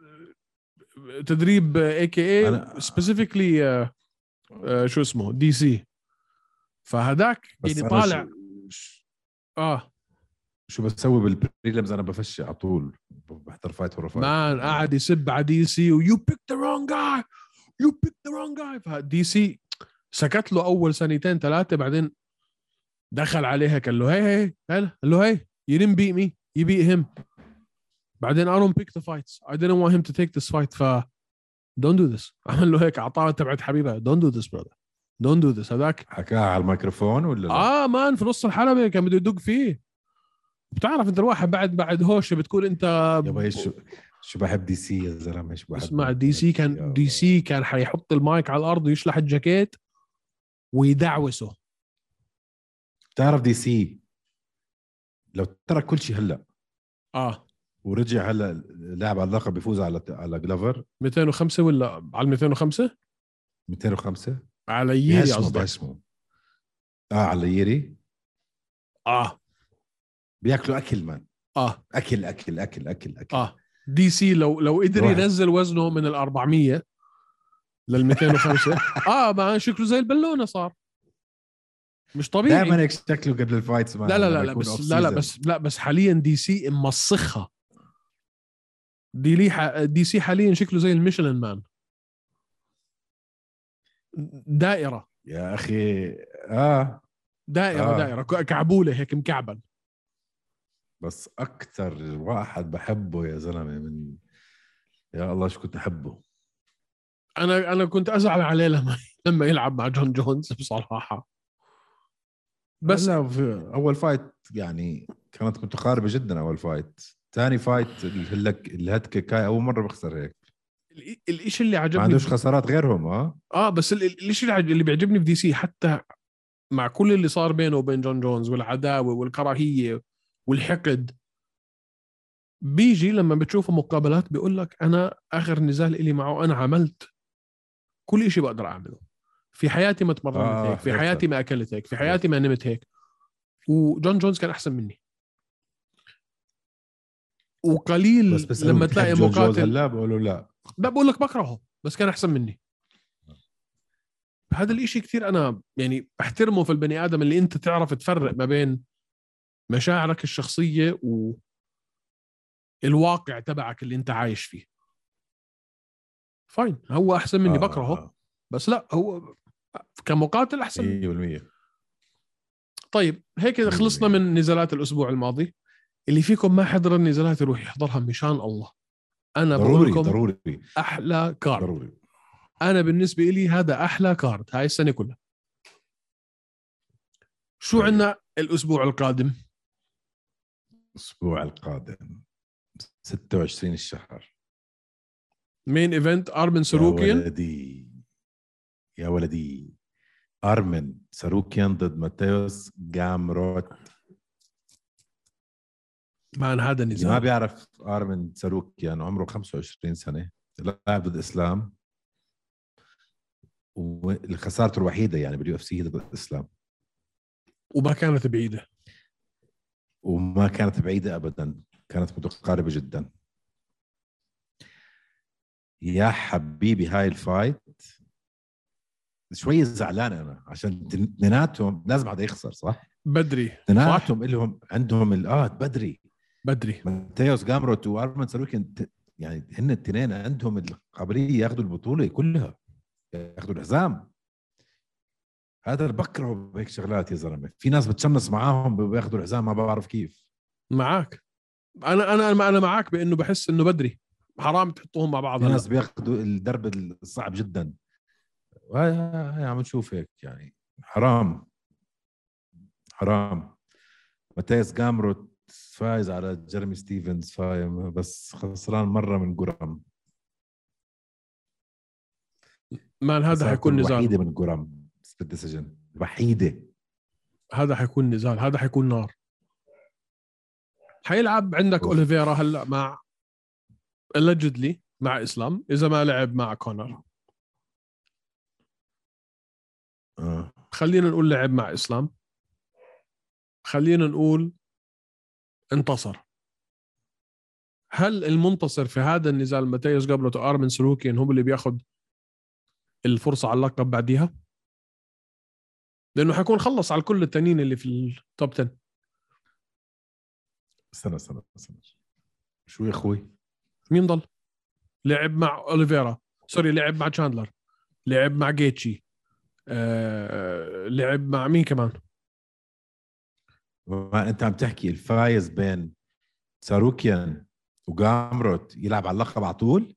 Speaker 2: تدريب اي كي اي
Speaker 3: أنا-
Speaker 2: سبيسيفيكلي آه، شو اسمه دي سي فهداك
Speaker 3: بس
Speaker 2: يعني
Speaker 3: أنا
Speaker 2: طالع
Speaker 3: شو,
Speaker 2: اه
Speaker 3: شو بسوي بالبريلمز انا بفش على طول بحضر فايت ورا فايت
Speaker 2: مان قاعد يسب على دي سي ويو بيك ذا رونج جاي يو بيك ذا رونج جاي فدي سي سكت له اول سنتين ثلاثه بعدين دخل عليها قال له هي هي هلا قال له هي you didn't beat me you beat him بعدين I don't pick the fights I didn't want him to take this fight ف don't do this [laughs] عمل له هيك اعطاها تبعت حبيبها don't do this brother don't do this هذاك
Speaker 3: حكاها على الميكروفون ولا لا؟
Speaker 2: اه مان في نص الحلبه كان بده يدق فيه بتعرف انت الواحد بعد بعد هوشه بتكون انت
Speaker 3: يابا ايش شو بحب دي سي يا زلمه شو بحب
Speaker 2: اسمع دي سي
Speaker 3: يا
Speaker 2: كان دي سي كان حيحط المايك على الارض ويشلح الجاكيت ويدعوسه
Speaker 3: بتعرف دي سي لو ترك كل شيء هلا
Speaker 2: اه
Speaker 3: ورجع هلا لاعب على اللقب بيفوز على على جلوفر
Speaker 2: 205 ولا على 205
Speaker 3: 205
Speaker 2: على ييري
Speaker 3: بيهاجمه
Speaker 2: قصدك
Speaker 3: بيهاجمه. اه على ييري
Speaker 2: اه
Speaker 3: بياكلوا اكل مان
Speaker 2: اه
Speaker 3: اكل اكل اكل اكل اكل
Speaker 2: اه دي سي لو لو قدر
Speaker 3: واحد.
Speaker 2: ينزل وزنه من ال 400 لل 205 اه ما شكله زي البالونه صار مش طبيعي
Speaker 3: دائما هيك شكله قبل الفايتس مان
Speaker 2: لا لا
Speaker 3: لما
Speaker 2: لا, لا
Speaker 3: يكون
Speaker 2: بس
Speaker 3: off
Speaker 2: لا لا
Speaker 3: season.
Speaker 2: بس لا بس حاليا دي سي موسخها دي لي ح... دي سي حاليا شكله زي الميشلان مان دائره
Speaker 3: يا اخي اه
Speaker 2: دائره آه.
Speaker 3: آه.
Speaker 2: دائره ك- كعبوله هيك مكعبل
Speaker 3: بس اكثر واحد بحبه يا زلمه من يا الله شو كنت احبه
Speaker 2: انا انا كنت ازعل عليه لما [laughs] لما يلعب مع جون جونز بصراحه بس
Speaker 3: لا في اول فايت يعني كانت متقاربه جدا اول فايت ثاني فايت الهلك الهتكك هاي اول مره بخسر هيك
Speaker 2: ال- الاشي اللي
Speaker 3: ما
Speaker 2: عجبني
Speaker 3: عندوش خسارات غيرهم اه
Speaker 2: اه بس ال- ال- الاشي اللي عج- اللي بيعجبني في دي سي حتى مع كل اللي صار بينه وبين جون جونز والعداوه والكراهيه والحقد بيجي لما بتشوفه مقابلات بيقول لك انا اخر نزال إلي معه انا عملت كل إشي بقدر اعمله في حياتي ما تمرنت
Speaker 3: آه،
Speaker 2: هيك في
Speaker 3: عرفتها.
Speaker 2: حياتي ما اكلت هيك في حياتي ما نمت هيك وجون جونز كان احسن مني وقليل
Speaker 3: بس بس
Speaker 2: لما تلاقي مقاتل
Speaker 3: لا بقولوا لا
Speaker 2: لا بقول لك بكرهه بس كان احسن مني هذا الاشي كثير انا يعني بحترمه في البني ادم اللي انت تعرف تفرق ما بين مشاعرك الشخصيه و الواقع تبعك اللي انت عايش فيه فاين هو احسن مني
Speaker 3: آه،
Speaker 2: بكرهه
Speaker 3: آه،
Speaker 2: بس لا هو كمقاتل احسن
Speaker 3: إيه.
Speaker 2: مني.
Speaker 3: 100%
Speaker 2: طيب هيك خلصنا من نزالات الاسبوع الماضي اللي فيكم ما حضر النزالات يروح يحضرها مشان الله انا بقول
Speaker 3: ضروري
Speaker 2: لكم
Speaker 3: ضروري
Speaker 2: احلى كارد
Speaker 3: ضروري
Speaker 2: انا بالنسبه لي هذا احلى كارد هاي السنه كلها شو
Speaker 3: طيب.
Speaker 2: عندنا الاسبوع القادم
Speaker 3: الاسبوع القادم 26 الشهر
Speaker 2: مين ايفنت ارمن
Speaker 3: يا
Speaker 2: سروكيان
Speaker 3: ولدي يا ولدي ارمن ساروكيان ضد ماتيوس جامروت
Speaker 2: مان هذا
Speaker 3: اللي ما
Speaker 2: نزال
Speaker 3: بيعرف ارمن ساروكيان عمره 25 سنه لاعب ضد اسلام وخسارته الوحيده يعني باليو اف سي ضد الاسلام
Speaker 2: وما كانت بعيده
Speaker 3: وما كانت بعيده ابدا كانت متقاربه جدا يا حبيبي هاي الفايت شوي زعلان انا عشان اثنيناتهم لازم حدا يخسر صح؟
Speaker 2: بدري صح
Speaker 3: اثنيناتهم لهم عندهم ال- اه بدري
Speaker 2: بدري
Speaker 3: ماتيوس جامروت وارمن ساروكين ت- يعني هن الاثنين عندهم القابليه ياخذوا البطوله كلها ياخذوا الحزام هذا اللي بكرهه بهيك شغلات يا زلمه في ناس بتشمس معاهم بياخذوا الحزام ما بعرف كيف
Speaker 2: معك انا انا انا معك بانه بحس انه بدري حرام تحطوهم مع بعض
Speaker 3: في
Speaker 2: هلا.
Speaker 3: ناس بياخذوا الدرب الصعب جدا وهي هي عم نشوف هيك يعني حرام حرام ماتياس جامروت فايز على جيرمي ستيفنز فاهم بس خسران مره من جرام
Speaker 2: مان هذا
Speaker 3: خسارته
Speaker 2: حيكون نزال
Speaker 3: الوحيده من جرام بالديسيجن الوحيده
Speaker 2: هذا حيكون نزال هذا حيكون نار حيلعب عندك
Speaker 3: أوف.
Speaker 2: اوليفيرا هلا مع allegedly مع اسلام اذا ما لعب مع كونر
Speaker 3: آه.
Speaker 2: خلينا نقول لعب مع اسلام خلينا نقول انتصر هل المنتصر في هذا النزال ماتيوس قبله ارمن سلوكين هم اللي بياخذ الفرصه على اللقب بعديها لانه حيكون خلص على كل التانيين اللي في التوب 10
Speaker 3: استنى استنى استنى شو يا اخوي؟
Speaker 2: مين ضل لعب مع اوليفيرا سوري لعب مع تشاندلر لعب مع جيتشي آه لعب مع مين كمان
Speaker 3: ما انت عم تحكي الفايز بين ساروكيان وجامروت يلعب على اللقب على طول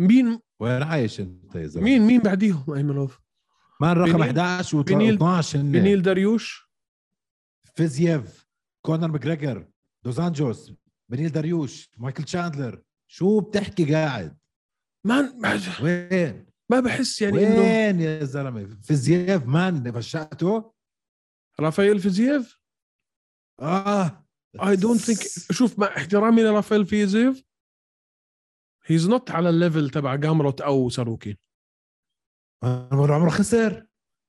Speaker 2: مين
Speaker 3: وين عايش انت يا زلمه؟
Speaker 2: مين مين بعديهم ايمنوف
Speaker 3: مان رقم
Speaker 2: بنيل-
Speaker 3: 11
Speaker 2: بنيل-
Speaker 3: و12
Speaker 2: بنيل داريوش
Speaker 3: فيزييف كونر ماجريجر دوزانجوس بنيل داريوش مايكل تشاندلر شو بتحكي قاعد
Speaker 2: مان ما-
Speaker 3: وين
Speaker 2: ما بحس يعني انه
Speaker 3: وين يا زلمه فيزييف مان فشقته
Speaker 2: رافائيل فيزييف
Speaker 3: اه
Speaker 2: اي دونت ثينك شوف مع احترامي لرافائيل فيزييف هيز نوت على الليفل تبع جامروت او ساروكي
Speaker 3: عمره عمره خسر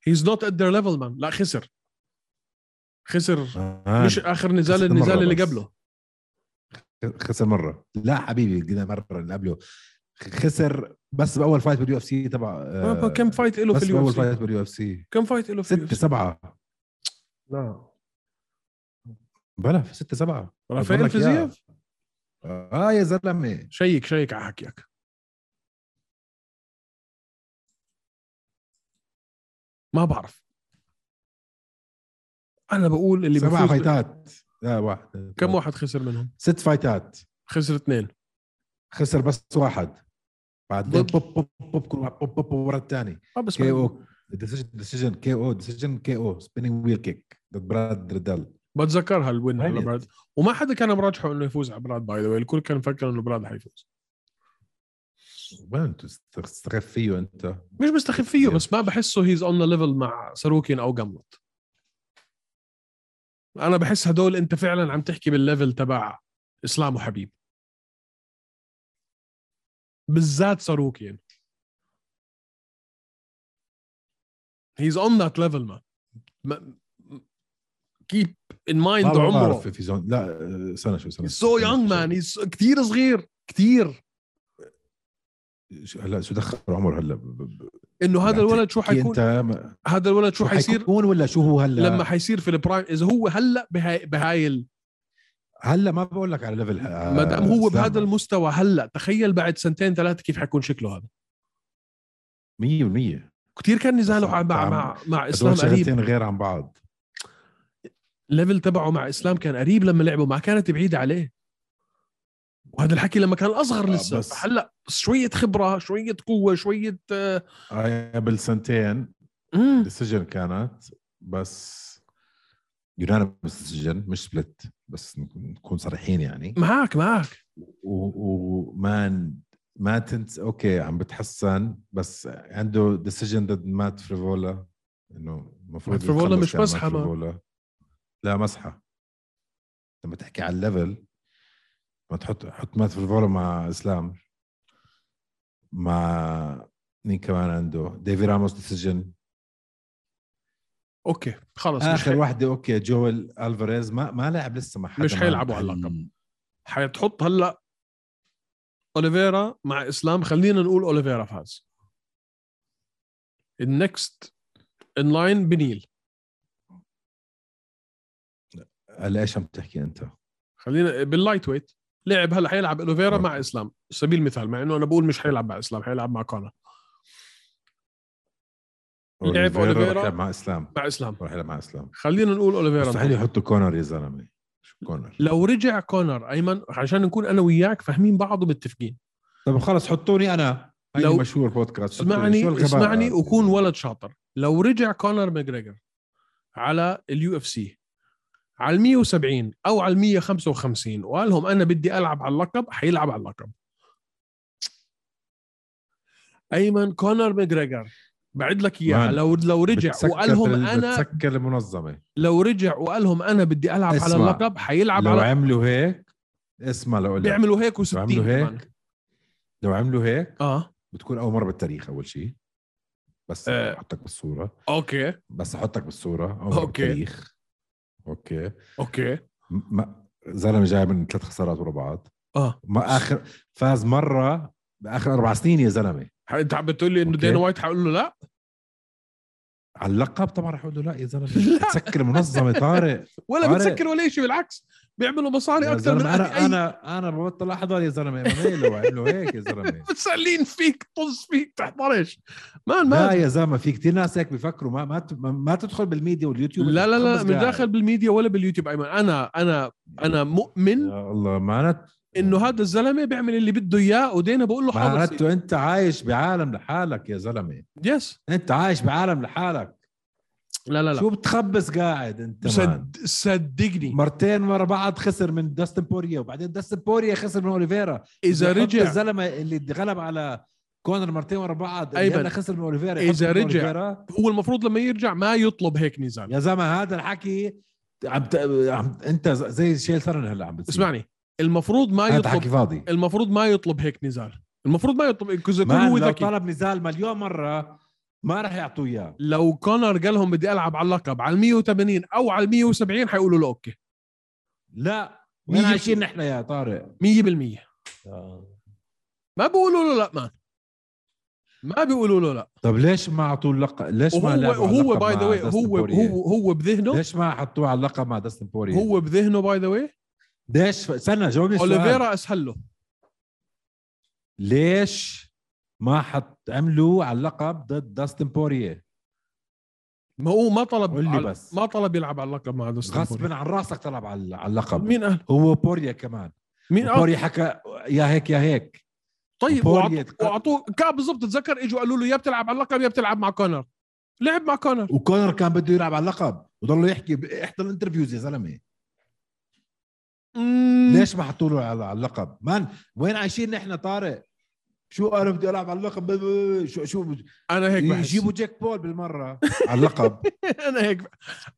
Speaker 2: هيز نوت ات ذير ليفل مان لا خسر خسر
Speaker 3: آه.
Speaker 2: مش اخر نزال
Speaker 3: خسر مرة
Speaker 2: النزال اللي
Speaker 3: بس.
Speaker 2: قبله
Speaker 3: خسر مره لا حبيبي كده مره اللي قبله خسر بس باول فايت باليو اف سي تبع آه،
Speaker 2: كم فايت له في
Speaker 3: بس
Speaker 2: اليو
Speaker 3: باول
Speaker 2: اف سي
Speaker 3: فايت باليو اف سي
Speaker 2: كم فايت له في اليو اف
Speaker 3: ستة
Speaker 2: سي
Speaker 3: سبعة
Speaker 2: لا
Speaker 3: بلا ستة سبعة
Speaker 2: رافائيل
Speaker 3: بقول لك يا.
Speaker 2: فيزييف
Speaker 3: اه يا زلمة
Speaker 2: شيك شيك على حكيك ما بعرف انا بقول اللي
Speaker 3: سبعة
Speaker 2: بفوز
Speaker 3: فايتات لا واحد
Speaker 2: كم واحد خسر منهم؟
Speaker 3: ست فايتات
Speaker 2: خسر اثنين
Speaker 3: خسر بس واحد بعدين بوب بوب بوب كل واحد بوب بوب بوب ورا الثاني
Speaker 2: اه بس
Speaker 3: كي او ديسيجن كي او ديسيجن كي او سبيننج ويل كيك ضد براد ريدل
Speaker 2: بتذكرها الوين على
Speaker 3: Brilliant.
Speaker 2: براد وما حدا كان مراجحه انه يفوز على براد باي ذا واي الكل كان مفكر انه براد حيفوز
Speaker 3: وين انت تستخف فيه انت
Speaker 2: مش مستخف فيه بس ما بحسه هيز اون ليفل مع ساروكين او جملت انا بحس هدول انت فعلا عم تحكي بالليفل تبع اسلام وحبيب بالذات ساروكين هيز اون ذات ليفل مان كيب ان مايند
Speaker 3: ما
Speaker 2: عمره
Speaker 3: بعرف في زون لا استنى شوي استنى
Speaker 2: He's so young man he's كثير صغير كثير
Speaker 3: شو- هلا شو دخل عمر هلا ب- ب- ب-
Speaker 2: انه هذا
Speaker 3: يعني
Speaker 2: الولد شو
Speaker 3: حكي
Speaker 2: حيكون
Speaker 3: انت ما-
Speaker 2: هذا الولد شو حيصير
Speaker 3: حيكون ولا شو هو هلا
Speaker 2: لما حيصير في البرايم اذا هو هلا بهاي, بهاي ال...
Speaker 3: هلا ما بقول لك على ليفل آه،
Speaker 2: ما دام هو
Speaker 3: إسلام.
Speaker 2: بهذا المستوى هلا تخيل بعد سنتين ثلاثه كيف حيكون شكله هذا
Speaker 3: 100%
Speaker 2: كثير كان نزاله
Speaker 3: بس
Speaker 2: مع مع
Speaker 3: عم-
Speaker 2: مع, مع اسلام
Speaker 3: اسلام
Speaker 2: قريب
Speaker 3: شغلتين غير عن بعض
Speaker 2: الليفل تبعه مع اسلام كان قريب لما لعبوا ما كانت بعيده عليه وهذا الحكي لما كان اصغر
Speaker 3: آه،
Speaker 2: لسه
Speaker 3: بس-
Speaker 2: هلا شويه خبره شويه قوه شويه آه،
Speaker 3: آه، قبل سنتين
Speaker 2: مم.
Speaker 3: السجن كانت بس يونانيمس السجن مش سبلت بس نكون صريحين يعني
Speaker 2: معك معك
Speaker 3: ومان ما تنس اوكي عم بتحسن بس عنده ديسيجن ضد مات فريفولا انه المفروض
Speaker 2: مات فريفولا
Speaker 3: يتخلص
Speaker 2: مش
Speaker 3: يعني
Speaker 2: مسحة ما.
Speaker 3: مات فريفولا. لا مسحه لما تحكي على الليفل ما تحط حط مات فريفولا مع اسلام مع مين كمان عنده ديفي راموس ديسيجن
Speaker 2: اوكي خلص مش
Speaker 3: اخر
Speaker 2: حي-
Speaker 3: وحده اوكي جويل الفاريز ما ما لعب لسه مع حدا
Speaker 2: مش
Speaker 3: مع-
Speaker 2: حيلعبوا على اللقب. حتحط هلا اوليفيرا مع اسلام خلينا نقول اوليفيرا فاز النكست ان لاين بنيل
Speaker 3: هلا ايش عم تحكي انت؟
Speaker 2: خلينا باللايت ويت لعب هلا حيلعب اوليفيرا مع اسلام سبيل مثال مع انه انا بقول مش حيلعب مع اسلام حيلعب مع كونر لعب
Speaker 3: أوليفيرا
Speaker 2: أوليفيرا.
Speaker 3: رح يلعب مع اسلام
Speaker 2: مع اسلام
Speaker 3: راح يلعب مع اسلام
Speaker 2: خلينا نقول
Speaker 3: مستحيل
Speaker 2: اوليفيرا
Speaker 3: يحطوا كونر يا زلمه شو كونر
Speaker 2: لو رجع كونر ايمن عشان نكون انا وياك فاهمين بعض ومتفقين
Speaker 3: طب خلص حطوني انا
Speaker 2: لو-
Speaker 3: لو مشهور بودكاست حطوني. شو
Speaker 2: اسمعني
Speaker 3: الغباء
Speaker 2: اسمعني
Speaker 3: هذا؟
Speaker 2: وكون ولد شاطر لو رجع كونر ماجريجر على اليو اف سي على ال 170 او على ال 155 وقال لهم انا بدي العب على اللقب حيلعب على اللقب ايمن كونر ماجريجر بعد لك اياها
Speaker 3: مان،
Speaker 2: لو لو رجع
Speaker 3: بتسكر
Speaker 2: وقال لهم
Speaker 3: ال-
Speaker 2: انا
Speaker 3: بتسكر المنظمه
Speaker 2: لو رجع وقال لهم انا بدي العب على
Speaker 3: اسمع،
Speaker 2: اللقب حيلعب
Speaker 3: لو
Speaker 2: على
Speaker 3: عملوا هيك اسمع لو أقول لك.
Speaker 2: بيعملوا هيك
Speaker 3: لو
Speaker 2: و60
Speaker 3: عملوا
Speaker 2: كمان
Speaker 3: هيك لو عملوا هيك
Speaker 2: اه
Speaker 3: بتكون اول مره بالتاريخ اول شيء بس
Speaker 2: آه.
Speaker 3: احطك بالصوره
Speaker 2: اوكي
Speaker 3: بس احطك بالصوره اول مره
Speaker 2: أوكي.
Speaker 3: بالتاريخ اوكي
Speaker 2: اوكي
Speaker 3: م- ما- زلمه جاي من ثلاث خسارات ورا بعض
Speaker 2: اه
Speaker 3: ما اخر فاز مره باخر اربع سنين يا زلمه
Speaker 2: انت عم بتقول لي انه
Speaker 3: أوكي.
Speaker 2: دينا وايت حقول له لا
Speaker 3: على اللقب طبعا رح اقول له لا يا زلمه
Speaker 2: [laughs] لا.
Speaker 3: بتسكر منظمه طارق
Speaker 2: ولا
Speaker 3: طارق.
Speaker 2: بتسكر ولا شيء بالعكس بيعملوا مصاري
Speaker 3: يا
Speaker 2: اكثر من
Speaker 3: زلمه
Speaker 2: انا
Speaker 3: انا
Speaker 2: اي
Speaker 3: انا انا ببطل احضر يا زلمه ما لو عملوا هيك يا
Speaker 2: [laughs]
Speaker 3: زلمه
Speaker 2: متسلين فيك طز فيك تحضرش مان
Speaker 3: لا
Speaker 2: مان
Speaker 3: يا زلمه في كثير ناس هيك بيفكروا ما ما ت- ما- ما تدخل بالميديا واليوتيوب
Speaker 2: لا لا لا
Speaker 3: خمس
Speaker 2: من
Speaker 3: دقايق.
Speaker 2: داخل بالميديا ولا باليوتيوب ايمن انا انا انا مؤمن
Speaker 3: يا الله معنات
Speaker 2: انه هذا الزلمه بيعمل اللي بده اياه ودينا بقول له حاضر
Speaker 3: معناته انت عايش بعالم لحالك يا زلمه
Speaker 2: يس
Speaker 3: انت عايش بعالم لحالك
Speaker 2: لا لا لا
Speaker 3: شو بتخبص قاعد انت مان؟
Speaker 2: صد- صدقني
Speaker 3: مرتين ورا بعض خسر من داستن بوريا وبعدين داستن بوريا خسر من اوليفيرا
Speaker 2: اذا
Speaker 3: يحط
Speaker 2: رجع
Speaker 3: الزلمه اللي غلب على كونر مرتين ورا بعض
Speaker 2: أيمن،
Speaker 3: اللي هلا خسر من اوليفيرا
Speaker 2: إذا
Speaker 3: يحط من
Speaker 2: رجع.
Speaker 3: أوليفيرا.
Speaker 2: هو المفروض لما يرجع ما يطلب هيك نزال
Speaker 3: يا زلمه هذا الحكي عم, ت... عم انت زي شيل ثرن هلا عم بتصير
Speaker 2: اسمعني المفروض ما
Speaker 3: هذا حكي
Speaker 2: يطلب
Speaker 3: فاضي
Speaker 2: المفروض ما يطلب هيك نزال المفروض ما يطلب إذا يكون
Speaker 3: ما
Speaker 2: هو
Speaker 3: لو
Speaker 2: ذكي
Speaker 3: طلب نزال مليون مره ما راح يعطوه اياه
Speaker 2: لو كونر قال لهم بدي العب على اللقب على ال 180 او على ال 170 حيقولوا له اوكي
Speaker 3: لا وين
Speaker 2: مية-
Speaker 3: عايشين نحن يا طارق
Speaker 2: 100% ما بيقولوا له لا مان ما بيقولوا له لا
Speaker 3: طب ليش ما اعطوه اللقب ليش
Speaker 2: وهو
Speaker 3: ما لعبوا على
Speaker 2: هو
Speaker 3: اللقب
Speaker 2: باي
Speaker 3: مع
Speaker 2: ذا واي
Speaker 3: داستن
Speaker 2: هو
Speaker 3: بوريه؟
Speaker 2: هو هو بذهنه
Speaker 3: ليش ما حطوه على اللقب مع داستن بوريا
Speaker 2: هو بذهنه باي ذا واي
Speaker 3: ليش استنى جاوبني السؤال
Speaker 2: اوليفيرا اسهل له
Speaker 3: ليش ما حط عملوا على اللقب ضد داستن بوريه
Speaker 2: ما هو ما طلب
Speaker 3: قول لي
Speaker 2: على-
Speaker 3: بس.
Speaker 2: ما طلب يلعب على اللقب مع دوستن بوريه.
Speaker 3: غصبا عن راسك طلب على على اللقب
Speaker 2: مين قال
Speaker 3: هو بوريا كمان
Speaker 2: مين قال
Speaker 3: بوريا حكى يا هيك يا هيك
Speaker 2: طيب
Speaker 3: بوريا
Speaker 2: وأعط-
Speaker 3: تق-
Speaker 2: واعطوه كاب بالضبط تتذكر اجوا قالوا له يا بتلعب على اللقب يا بتلعب مع كونر لعب مع كونر
Speaker 3: وكونر كان بده يلعب على اللقب وضل يحكي ب- احضر الانترفيوز يا زلمه
Speaker 2: مم.
Speaker 3: ليش ما حطوا له على على اللقب مان وين عايشين نحن طارق شو انا بدي العب على اللقب ب- ب- ب- شو شو بد-
Speaker 2: انا أمم، هيك بحس [laughs]
Speaker 3: يجيبوا جاك بول بالمره على اللقب
Speaker 2: انا هيك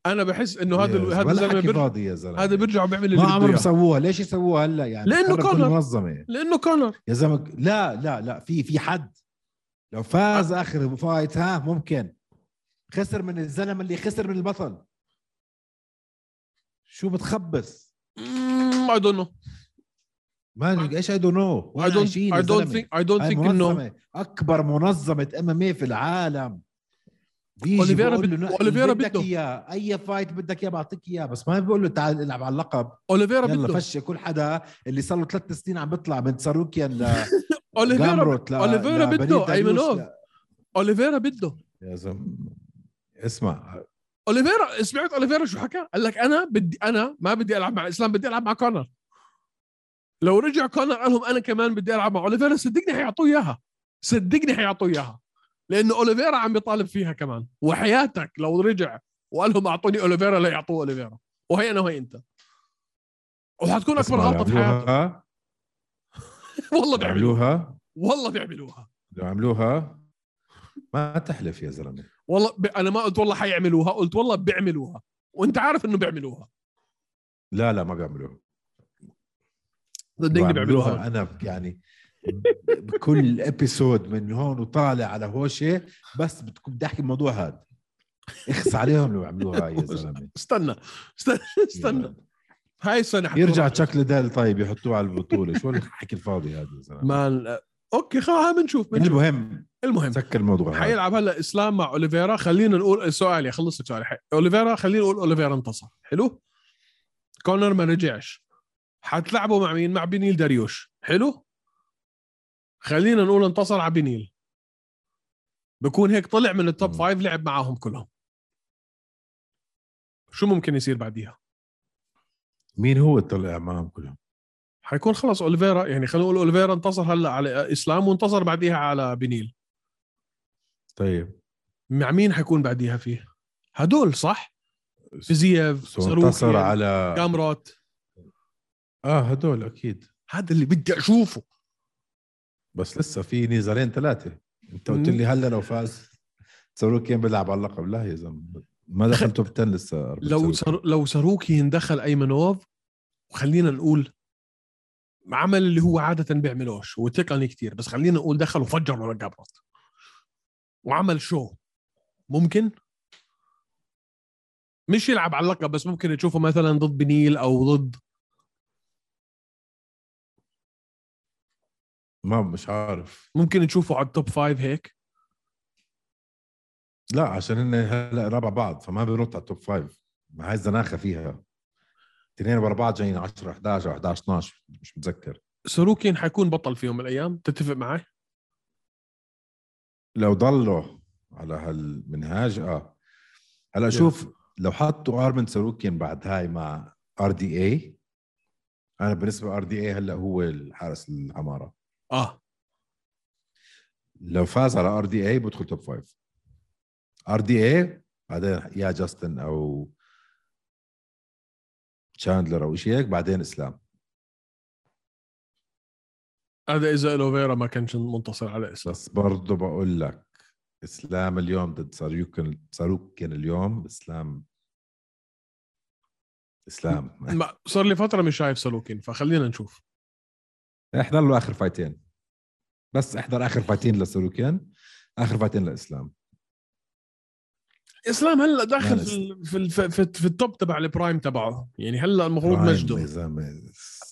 Speaker 2: انا بحس انه [laughs] هذا ال-
Speaker 3: يا
Speaker 2: هذا
Speaker 3: زلمة،
Speaker 2: الزلمه
Speaker 3: حكي
Speaker 2: بيرجع
Speaker 3: فاضي يا زلمه
Speaker 2: هذا بيرجع وبيعمل اللي
Speaker 3: طيب. ما
Speaker 2: بده
Speaker 3: عمرهم
Speaker 2: إياه.
Speaker 3: سووها ليش يسووها هلا يعني
Speaker 2: لأنه
Speaker 3: خرب كل
Speaker 2: كونر.
Speaker 3: منظمه
Speaker 2: لانه كونر
Speaker 3: يا زلمه لا لا لا في في حد لو فاز اخر فايت ها ممكن خسر من الزلمه اللي خسر من البطل شو بتخبص
Speaker 2: اي دونت نو
Speaker 3: ما ايش اي دون نو
Speaker 2: اي دونت اي دونت ثينك اي دونت ثينك انه
Speaker 3: منظمه اكبر منظمه ام ام إيه في العالم بيجي
Speaker 2: أوليفيرا
Speaker 3: بقول له
Speaker 2: بد-
Speaker 3: لا، اللي
Speaker 2: أوليفيرا
Speaker 3: بدك
Speaker 2: بده.
Speaker 3: اياه اي فايت بدك اياه بعطيك اياه بس ما بقول له تعال العب على اللقب
Speaker 2: اوليفيرا
Speaker 3: يلا
Speaker 2: بده
Speaker 3: فش كل حدا اللي صار له ثلاث سنين عم بيطلع من ساروكيان
Speaker 2: [laughs]
Speaker 3: ل
Speaker 2: اوليفيرا
Speaker 3: جامروت، ل-
Speaker 2: أوليفيرا
Speaker 3: لبريد
Speaker 2: بده،
Speaker 3: داريوش،
Speaker 2: أيمنوف.
Speaker 3: ل-
Speaker 2: اوليفيرا بده
Speaker 3: يا زلمه اسمع
Speaker 2: اوليفيرا سمعت اوليفيرا شو حكى؟ قال لك انا بدي انا ما بدي العب مع الاسلام بدي العب مع كونر لو رجع كونر قال لهم انا كمان بدي العب مع اوليفيرا صدقني حيعطوه اياها صدقني حيعطوه اياها لانه اوليفيرا عم يطالب فيها كمان وحياتك لو رجع وقال لهم اعطوني اوليفيرا لا يعطوه اوليفيرا وهي انا وهي انت وحتكون اكبر
Speaker 3: اسمع،
Speaker 2: غلطه في حياتك
Speaker 3: عملوها
Speaker 2: والله
Speaker 3: لو
Speaker 2: بيعملوها
Speaker 3: عملوها
Speaker 2: والله بيعملوها
Speaker 3: لو عملوها ما تحلف يا زلمه
Speaker 2: والله ب... انا ما قلت والله حيعملوها قلت والله بيعملوها وانت عارف انه بيعملوها
Speaker 3: لا لا ما بيعملوها
Speaker 2: صدقني
Speaker 3: لو
Speaker 2: بيعملوها
Speaker 3: انا يعني بكل ابيسود من هون وطالع على هوشه بس بتكون بدي احكي الموضوع هذا اخس عليهم لو
Speaker 2: [laughs]
Speaker 3: عملوها يا زلمه
Speaker 2: استنى استنى استنى هاي السنه حتكون-
Speaker 3: يرجع تشاك ليدل طيب يحطوه على البطوله شو الحكي الفاضي هذا يا زلمه
Speaker 2: ما اوكي خلاص بنشوف بنشوف
Speaker 3: المهم
Speaker 2: المهم
Speaker 3: سكر الموضوع هذا
Speaker 2: حيلعب هلا اسلام مع اوليفيرا خلينا نقول سؤالي خلصت سؤالي حي- اوليفيرا خلينا نقول اوليفيرا انتصر حلو كونر ما رجعش حتلعبوا مع مين مع بنيل داريوش حلو خلينا نقول انتصر على بنيل بكون هيك طلع من التوب
Speaker 3: مم.
Speaker 2: فايف لعب معاهم كلهم شو ممكن يصير بعديها
Speaker 3: مين هو طلع معهم كلهم
Speaker 2: حيكون خلص اوليفيرا يعني خلينا نقول اوليفيرا انتصر هلا على اسلام وانتصر بعديها على بنيل
Speaker 3: طيب
Speaker 2: مع مين حيكون بعديها فيه هدول صح فيزييف
Speaker 3: سو انتصر
Speaker 2: ساروكيان،
Speaker 3: على
Speaker 2: جامروت
Speaker 3: اه هدول اكيد
Speaker 2: هذا اللي بدي اشوفه
Speaker 3: بس لسه في نزالين ثلاثه انت قلت لي هلا لو فاز ساروكيان بيلعب على اللقب لا يا زلمه ما دخل توب 10 لسه أربعة
Speaker 2: لو
Speaker 3: ساروكيان.
Speaker 2: سر... لو ساروكيان دخل ايمنوف وخلينا نقول عمل اللي هو عاده بيعملوش وتقني كتير بس خلينا نقول دخل وفجر ورا جابروت وعمل شو ممكن مش يلعب على اللقب بس ممكن تشوفه مثلا ضد بنيل او ضد
Speaker 3: ما مش عارف
Speaker 2: ممكن تشوفه على التوب فايف هيك
Speaker 3: لا عشان هن هلا رابع بعض فما بينط على التوب فايف ما هاي الزناخه فيها اثنين ورا بعض جايين 10 11 أو 11 12 مش متذكر
Speaker 2: ساروكين حيكون بطل في يوم من الايام تتفق معي
Speaker 3: لو ضلوا على هالمنهاج اه هلا شوف لو حطوا ارمن ساروكيان بعد هاي مع ار دي اي انا بالنسبه ار دي اي هلا هو الحارس العماره
Speaker 2: اه
Speaker 3: لو فاز على ار دي اي بدخل توب فايف ار دي اي بعدين يا جاستن او تشاندلر او شيء هيك بعدين اسلام
Speaker 2: هذا اذا الوفيرا ما كانش منتصر على
Speaker 3: [laughs]
Speaker 2: اسلام
Speaker 3: بس برضه بقول لك اسلام اليوم ضد ساروكن ساروكن اليوم اسلام اسلام
Speaker 2: ما- صار لي فتره مش شايف سلوكين فخلينا نشوف
Speaker 3: احضر له اخر فايتين بس احضر اخر فايتين لساروكن اخر فايتين لاسلام
Speaker 2: اسلام هلا داخل
Speaker 3: لا،
Speaker 2: في ال- في ال- في, في التوب تبع البرايم تبعه يعني هلا المفروض
Speaker 3: برايم
Speaker 2: مجده
Speaker 3: يا زلمه.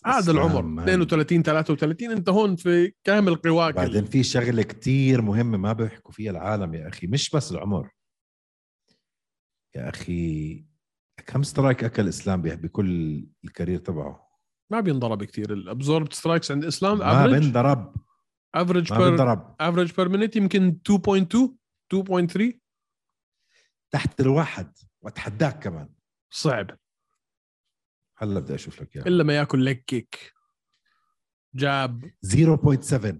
Speaker 2: هذا
Speaker 3: إسلام،
Speaker 2: العمر
Speaker 3: مان.
Speaker 2: 32 33 انت هون في كامل قواك
Speaker 3: بعدين في شغله كتير مهمه ما بيحكوا فيها العالم يا اخي مش بس العمر يا اخي كم سترايك اكل اسلام بيه- بكل الكارير تبعه
Speaker 2: ما بينضرب كثير الابزورب سترايكس عند اسلام
Speaker 3: ما
Speaker 2: افريج
Speaker 3: بنضرب
Speaker 2: افريج
Speaker 3: ما
Speaker 2: بير
Speaker 3: بنضرب
Speaker 2: افريج بير مينيت يمكن 2.2 2.3
Speaker 3: تحت الواحد واتحداك كمان
Speaker 2: صعب
Speaker 3: هلا بدي اشوف لك اياه
Speaker 2: الا ما ياكل ليج كيك جاب
Speaker 3: 0.7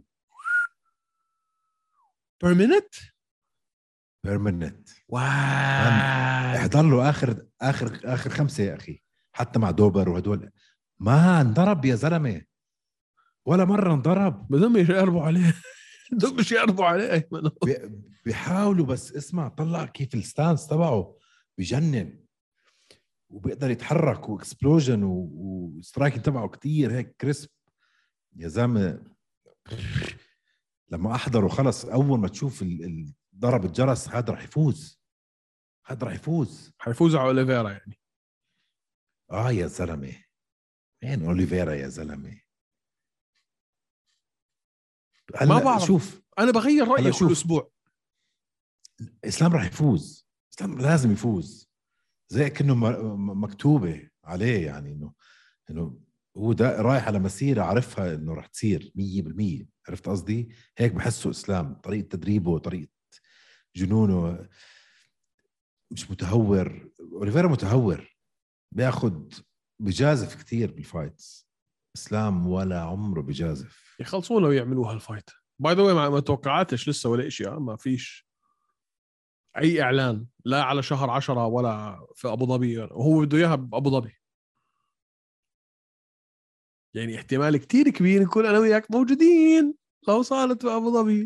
Speaker 2: بير مينيت
Speaker 3: بيرمننت
Speaker 2: واو
Speaker 3: احضر له اخر اخر اخر خمسه يا اخي حتى مع دوبر وهدول ما انضرب يا زلمه ولا مره انضرب
Speaker 2: بدهم يقربوا عليه بدهم يقربوا عليه ايمن
Speaker 3: [laughs] بي- بيحاولوا بس اسمع طلع كيف الستانس تبعه بجنن وبيقدر يتحرك واكسبلوجن وسترايكنج تبعه كتير هيك كريسب يا زلمه لما احضره خلص اول ما تشوف ال- ال- ضرب الجرس هذا رح يفوز هذا رح يفوز
Speaker 2: حيفوز على اوليفيرا يعني
Speaker 3: اه يا زلمه وين اوليفيرا يا زلمه هلا
Speaker 2: بعرف.
Speaker 3: شوف
Speaker 2: انا بغير رايي
Speaker 3: هلا
Speaker 2: كل
Speaker 3: شوف.
Speaker 2: اسبوع
Speaker 3: اسلام راح يفوز اسلام لازم يفوز زي كانه م- م- مكتوبه عليه يعني انه انه هو ده رايح على مسيره عارفها انه راح تصير 100% عرفت قصدي؟ هيك بحسه اسلام طريقه تدريبه طريقه جنونه مش متهور اوليفيرا متهور بياخد بجازف كثير بالفايتس اسلام ولا عمره بجازف
Speaker 2: يخلصوا له ويعملوها الفايت باي ذا ما ما توقعاتش لسه ولا شيء آه، ما فيش اي اعلان لا على شهر عشرة ولا في ابو ظبي هو بده اياها بابو ظبي يعني احتمال كتير كبير نكون انا وياك موجودين لو صارت في ابو ظبي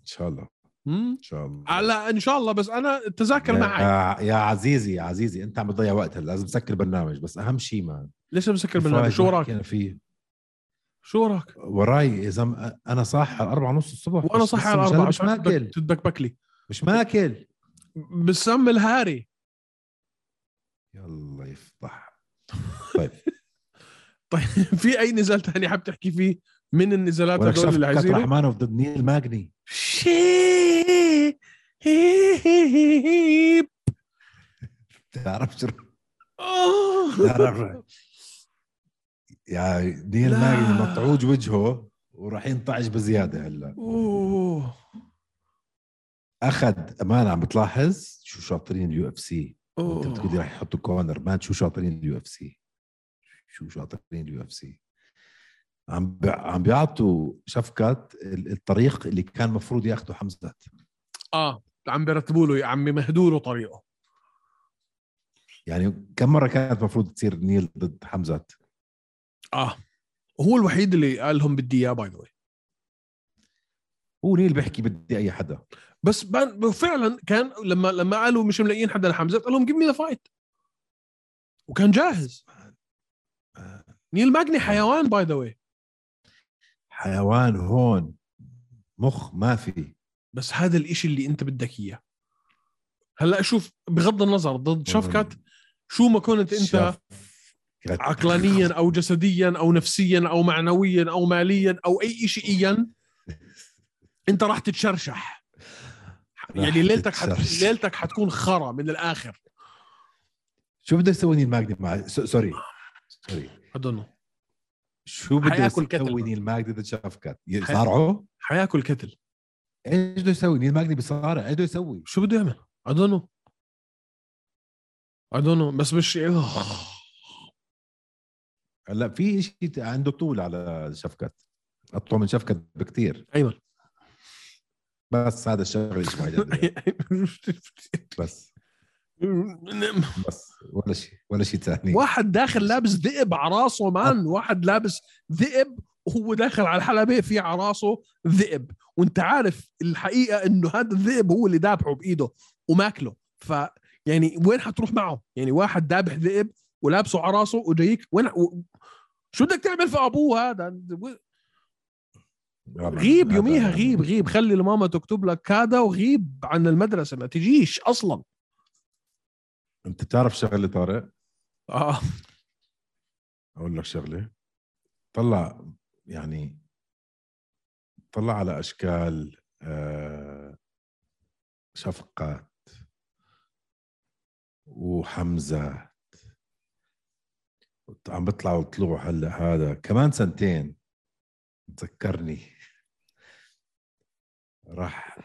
Speaker 3: ان شاء الله
Speaker 2: مم؟
Speaker 3: ان شاء الله
Speaker 2: على ان شاء الله بس انا التذاكر معي
Speaker 3: يا, آه، يا عزيزي يا عزيزي انت عم بتضيع وقت هلا لازم تسكر برنامج بس اهم شيء ما
Speaker 2: ليش مسكر بالنادي شو وراك
Speaker 3: انا فيه
Speaker 2: شو وراك
Speaker 3: وراي يا زلمه انا صاحي على 4 ونص الصبح
Speaker 2: وانا
Speaker 3: مش-
Speaker 2: صح
Speaker 3: بس
Speaker 2: على
Speaker 3: مش-
Speaker 2: الاربعه
Speaker 3: مش ماكل
Speaker 2: تتبكبك لي
Speaker 3: مش ماكل
Speaker 2: بالسم الهاري [laughs]
Speaker 3: يلا يفضح طيب،
Speaker 2: [laughs] طيب، في اي نزال تاني حاب تحكي فيه من النزالات
Speaker 3: ولك
Speaker 2: هذول اللي
Speaker 3: شفت
Speaker 2: عايزينه
Speaker 3: رحمانوف ضد نيل ماجني
Speaker 2: شيب
Speaker 3: بتعرف شو
Speaker 2: آه.
Speaker 3: بتعرف يا نيل
Speaker 2: لا.
Speaker 3: ماجني مطعوج وجهه وراح ينطعج بزياده هلا
Speaker 2: أوه.
Speaker 3: اخذ امان عم بتلاحظ شو شاطرين اليو اف سي انت بتقولي
Speaker 2: أوه.
Speaker 3: رح يحطوا كونر مان شو شاطرين اليو اف سي شو شاطرين اليو اف سي عم بي- عم بيعطوا شفكات ال- الطريق اللي كان مفروض ياخده حمزات
Speaker 2: اه عم بيرتبوا له عم بيمهدوا له طريقه
Speaker 3: يعني كم مره كانت مفروض تصير نيل ضد حمزات
Speaker 2: اه هو الوحيد اللي قال لهم بدي اياه باي ذا واي
Speaker 3: هو نيل بيحكي بدي اي حدا
Speaker 2: بس بان فعلا كان لما لما قالوا مش ملاقيين حدا لحمزه قال لهم جيب مي ذا فايت وكان جاهز نيل ماجني حيوان باي ذا واي
Speaker 3: حيوان هون مخ ما في
Speaker 2: بس هذا الإشي اللي انت بدك اياه هلا شوف بغض النظر ضد شفكت شو ما كنت انت
Speaker 3: شفكت.
Speaker 2: عقلانيا او جسديا او نفسيا او معنويا او ماليا او اي شيء ايا انت راح تتشرشح
Speaker 3: راح
Speaker 2: يعني ليلتك حت...
Speaker 3: تتشرشح.
Speaker 2: ليلتك حتكون خرا من الاخر
Speaker 3: شو بده يسوي نيل ماجني مع س- سوري سوري
Speaker 2: اظن
Speaker 3: شو بده
Speaker 2: حياكل كتل.
Speaker 3: يسوي نيل ماجني ضد شفكات يصارعه
Speaker 2: حياكل كتل
Speaker 3: ايش بده يسوي نيل ماجني بيصارع ايش بده يسوي
Speaker 2: شو بده يعمل اظن اظن بس مش آه.
Speaker 3: هلا في شيء عنده طول على شفكت اطول من شفكت بكتير
Speaker 2: ايمن
Speaker 3: بس هذا الشغله شو
Speaker 2: [laughs]
Speaker 3: بعيد بس بس ولا شيء ولا شيء ثاني
Speaker 2: واحد داخل لابس ذئب على راسه مان واحد لابس ذئب وهو داخل على الحلبة في على راسه ذئب وانت عارف الحقيقة انه هذا الذئب هو اللي دابحه بإيده وماكله ف يعني وين حتروح معه يعني واحد دابح ذئب ولابسه على راسه وجايك وين و... شو بدك تعمل في ابوه هذا غيب يوميها
Speaker 3: يعني.
Speaker 2: غيب غيب خلي الماما تكتب لك هذا وغيب عن المدرسة ما تجيش اصلا
Speaker 3: انت بتعرف شغله طارق
Speaker 2: اه
Speaker 3: اقول لك شغله طلع يعني طلع على اشكال آه، شفقات وحمزات وط- عم بيطلعوا وطلعوا هلا هذا كمان سنتين تذكرني راح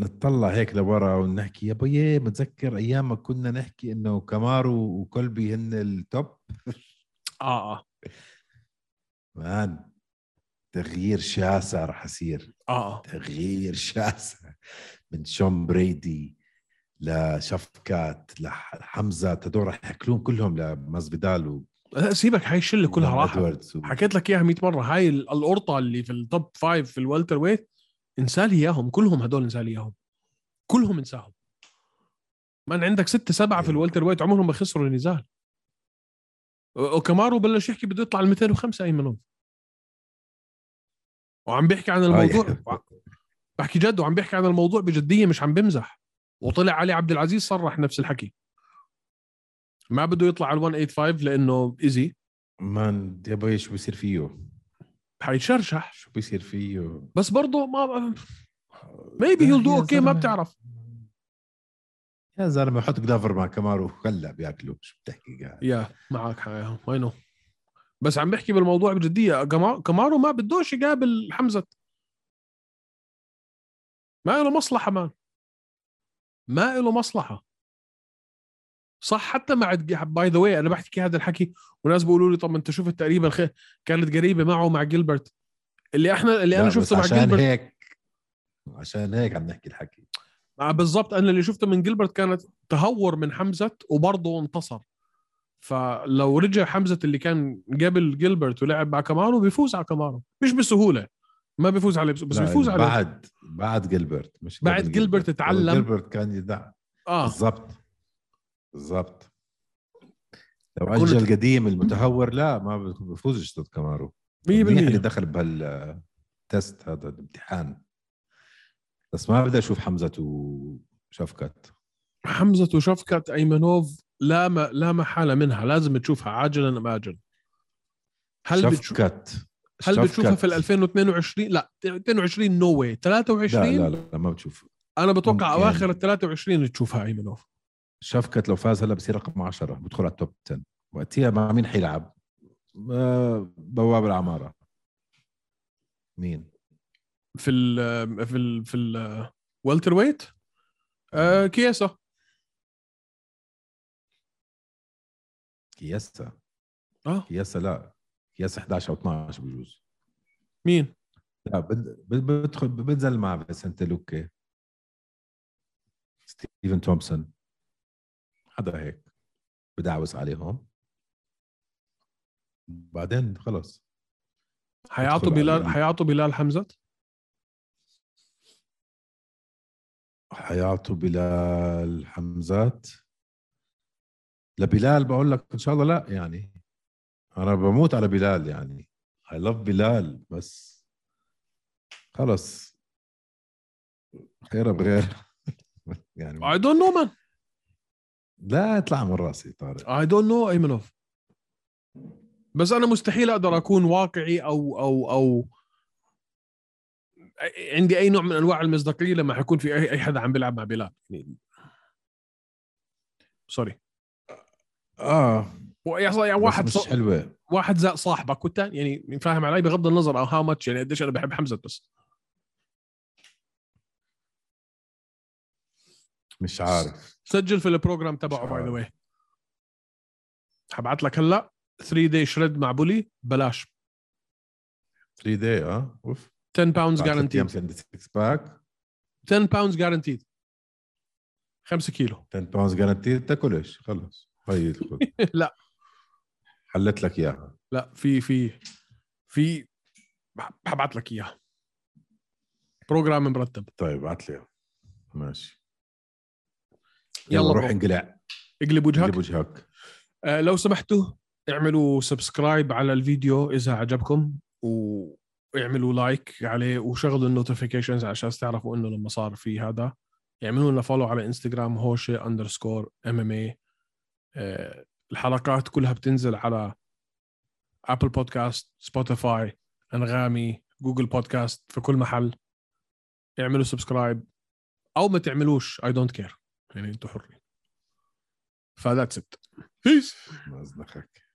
Speaker 3: نتطلع هيك لورا ونحكي يا بيي متذكر ايام ما كنا نحكي انه كامارو وكولبي هن التوب
Speaker 2: اه
Speaker 3: مان تغيير شاسع رح يصير
Speaker 2: اه
Speaker 3: تغيير شاسع من شون بريدي لشفكات لحمزه هدول رح ياكلون كلهم لمازفيدال و
Speaker 2: لا آه. سيبك هاي الشله كلها
Speaker 3: وإيفان
Speaker 2: راحه
Speaker 3: إدواردز و-
Speaker 2: حكيت لك اياها 100 مره هاي ال- القرطه اللي في التوب فايف في الوالتر ويت انسى لي اياهم كلهم هدول انسى لي اياهم كلهم انساهم من عندك ستة سبعة في
Speaker 3: أيوة.
Speaker 2: الوالتر ويت عمرهم ما خسروا النزال وكمارو بلش يحكي بده يطلع ال 205 ايمنوف وعم بيحكي عن
Speaker 3: آه،
Speaker 2: الموضوع
Speaker 3: يعني-
Speaker 2: بحكي جد وعم بيحكي عن الموضوع بجديه مش عم بمزح وطلع علي عبد العزيز صرح نفس الحكي ما بده يطلع على ال 185 لانه ايزي
Speaker 3: مان يا بيي شو بيصير فيه
Speaker 2: حيشرشح
Speaker 3: شو بيصير فيه
Speaker 2: بس برضه ما ميبي هيل دو
Speaker 3: يا
Speaker 2: اوكي ما
Speaker 3: زلمة.
Speaker 2: بتعرف
Speaker 3: يا زلمه حط جلافر مع كامارو هلا بياكلوا شو بتحكي قاعد
Speaker 2: يا معك حق اي نو بس عم بحكي بالموضوع بجديه كما- كامارو ما بدوش يقابل حمزه ما له مصلحه مان ما له مصلحه صح حتى مع باي ذا واي انا بحكي هذا الحكي وناس بيقولوا لي طب ما انت شفت تقريبا خ... كانت قريبه معه مع جيلبرت اللي احنا اللي
Speaker 3: لا،
Speaker 2: انا
Speaker 3: بس
Speaker 2: شفته مع
Speaker 3: عشان
Speaker 2: جيلبرت
Speaker 3: هيك عشان هيك عم نحكي الحكي
Speaker 2: آه، بالضبط انا اللي شفته من جيلبرت كانت تهور من حمزه وبرضه انتصر فلو رجع حمزه اللي كان قبل جيلبرت ولعب مع كامارو بيفوز على كامارو مش بسهوله ما بيفوز عليه بس بس
Speaker 3: لا،
Speaker 2: بيفوز
Speaker 3: يعني
Speaker 2: عليه
Speaker 3: بعد بعد جيلبرت مش
Speaker 2: بعد
Speaker 3: قبل
Speaker 2: جيلبرت اتعلم.
Speaker 3: جيلبرت كان يدع
Speaker 2: اه
Speaker 3: بالضبط بالضبط لو
Speaker 2: كل-
Speaker 3: اجل القديم المتهور لا ما بفوزش ضد كامارو
Speaker 2: 100%
Speaker 3: منيح اللي دخل بهالتست هذا الامتحان بس ما بدي اشوف حمزه وشفكت
Speaker 2: حمزه وشفكت ايمنوف لا ما لا محاله منها لازم تشوفها عاجلا ام اجلا هل بتشوف
Speaker 3: شفكت
Speaker 2: هل بتشوفها
Speaker 3: شفكت.
Speaker 2: في ال 2022 لا 22 نو واي 23
Speaker 3: لا لا لا ما بتشوف
Speaker 2: انا بتوقع
Speaker 3: ممكن.
Speaker 2: اواخر ال 23 تشوفها ايمنوف
Speaker 3: شفكت لو فاز هلا بصير رقم 10 بدخل على التوب 10 وقتها مع مين حيلعب؟ آه، بواب العماره مين؟
Speaker 2: في ال في ال في ال والتر ويت آه كياسة
Speaker 3: كياسا
Speaker 2: اه
Speaker 3: كياسا لا كياسا 11 او 12 بجوز
Speaker 2: مين
Speaker 3: لا بد- بد- بدخل بنزل مع فيسنت لوكي ستيفن تومسون حدا هيك بدعوس عليهم بعدين خلص
Speaker 2: حيعطوا
Speaker 3: بدخل
Speaker 2: بلال
Speaker 3: على-
Speaker 2: حيعطوا بلال حمزة
Speaker 3: حيعطوا بلال حمزات لبلال بقول لك ان شاء الله لا يعني انا بموت على بلال يعني اي لاف بلال بس خلص خير بغير [laughs]
Speaker 2: اي
Speaker 3: يعني
Speaker 2: دونت نو مان
Speaker 3: لا اطلع من راسي طارق
Speaker 2: اي دونت نو ايمنوف بس انا مستحيل اقدر اكون واقعي او او او عندي اي نوع من انواع المصداقيه لما حيكون في اي اي حدا عم بيلعب مع بلال يعني سوري
Speaker 3: اه
Speaker 2: ويحصل يعني
Speaker 3: بس
Speaker 2: واحد
Speaker 3: مش
Speaker 2: ص...
Speaker 3: حلوه
Speaker 2: واحد زق صاحبك والثاني يعني فاهم علي بغض النظر او هاو ماتش يعني قديش انا بحب حمزه بس
Speaker 3: مش عارف
Speaker 2: سجل في البروجرام تبعه
Speaker 3: مش
Speaker 2: باي ذا
Speaker 3: عارف.
Speaker 2: واي حبعت لك هلا 3 دي شريد مع بولي بلاش
Speaker 3: 3 دي اه اوف
Speaker 2: 10 باوندز
Speaker 3: آه، بعد ثلاث أيام
Speaker 2: جارانتيد
Speaker 3: كان 6 باك
Speaker 2: 10 باوندز جارانتيد 5 كيلو
Speaker 3: 10 باوندز جارانتي تاكلش خلص هي الخ-
Speaker 2: [laughs] لا.
Speaker 3: حلت لك اياها
Speaker 2: لا في في في بح- ببعت لك اياها بروجرام مرتب
Speaker 3: طيب ابعت لي إياها. ماشي
Speaker 2: يلا
Speaker 3: يلا, روح
Speaker 2: بابا.
Speaker 3: انقلع
Speaker 2: اقلب وجهك
Speaker 3: اقلب وجهك
Speaker 2: آه، لو سمحتوا اعملوا سبسكرايب على الفيديو اذا عجبكم واعملوا لايك عليه وشغلوا النوتيفيكيشنز عشان تعرفوا انه لما صار في هذا يعملوا لنا فولو على انستغرام هوشه اندرسكور ام ام اي آه، الحلقات كلها بتنزل على ابل بودكاست سبوتيفاي انغامي جوجل بودكاست في كل محل اعملوا سبسكرايب او ما تعملوش اي دونت كير يعني انتم حرين فذاتس ات بيس
Speaker 3: ما أزنخك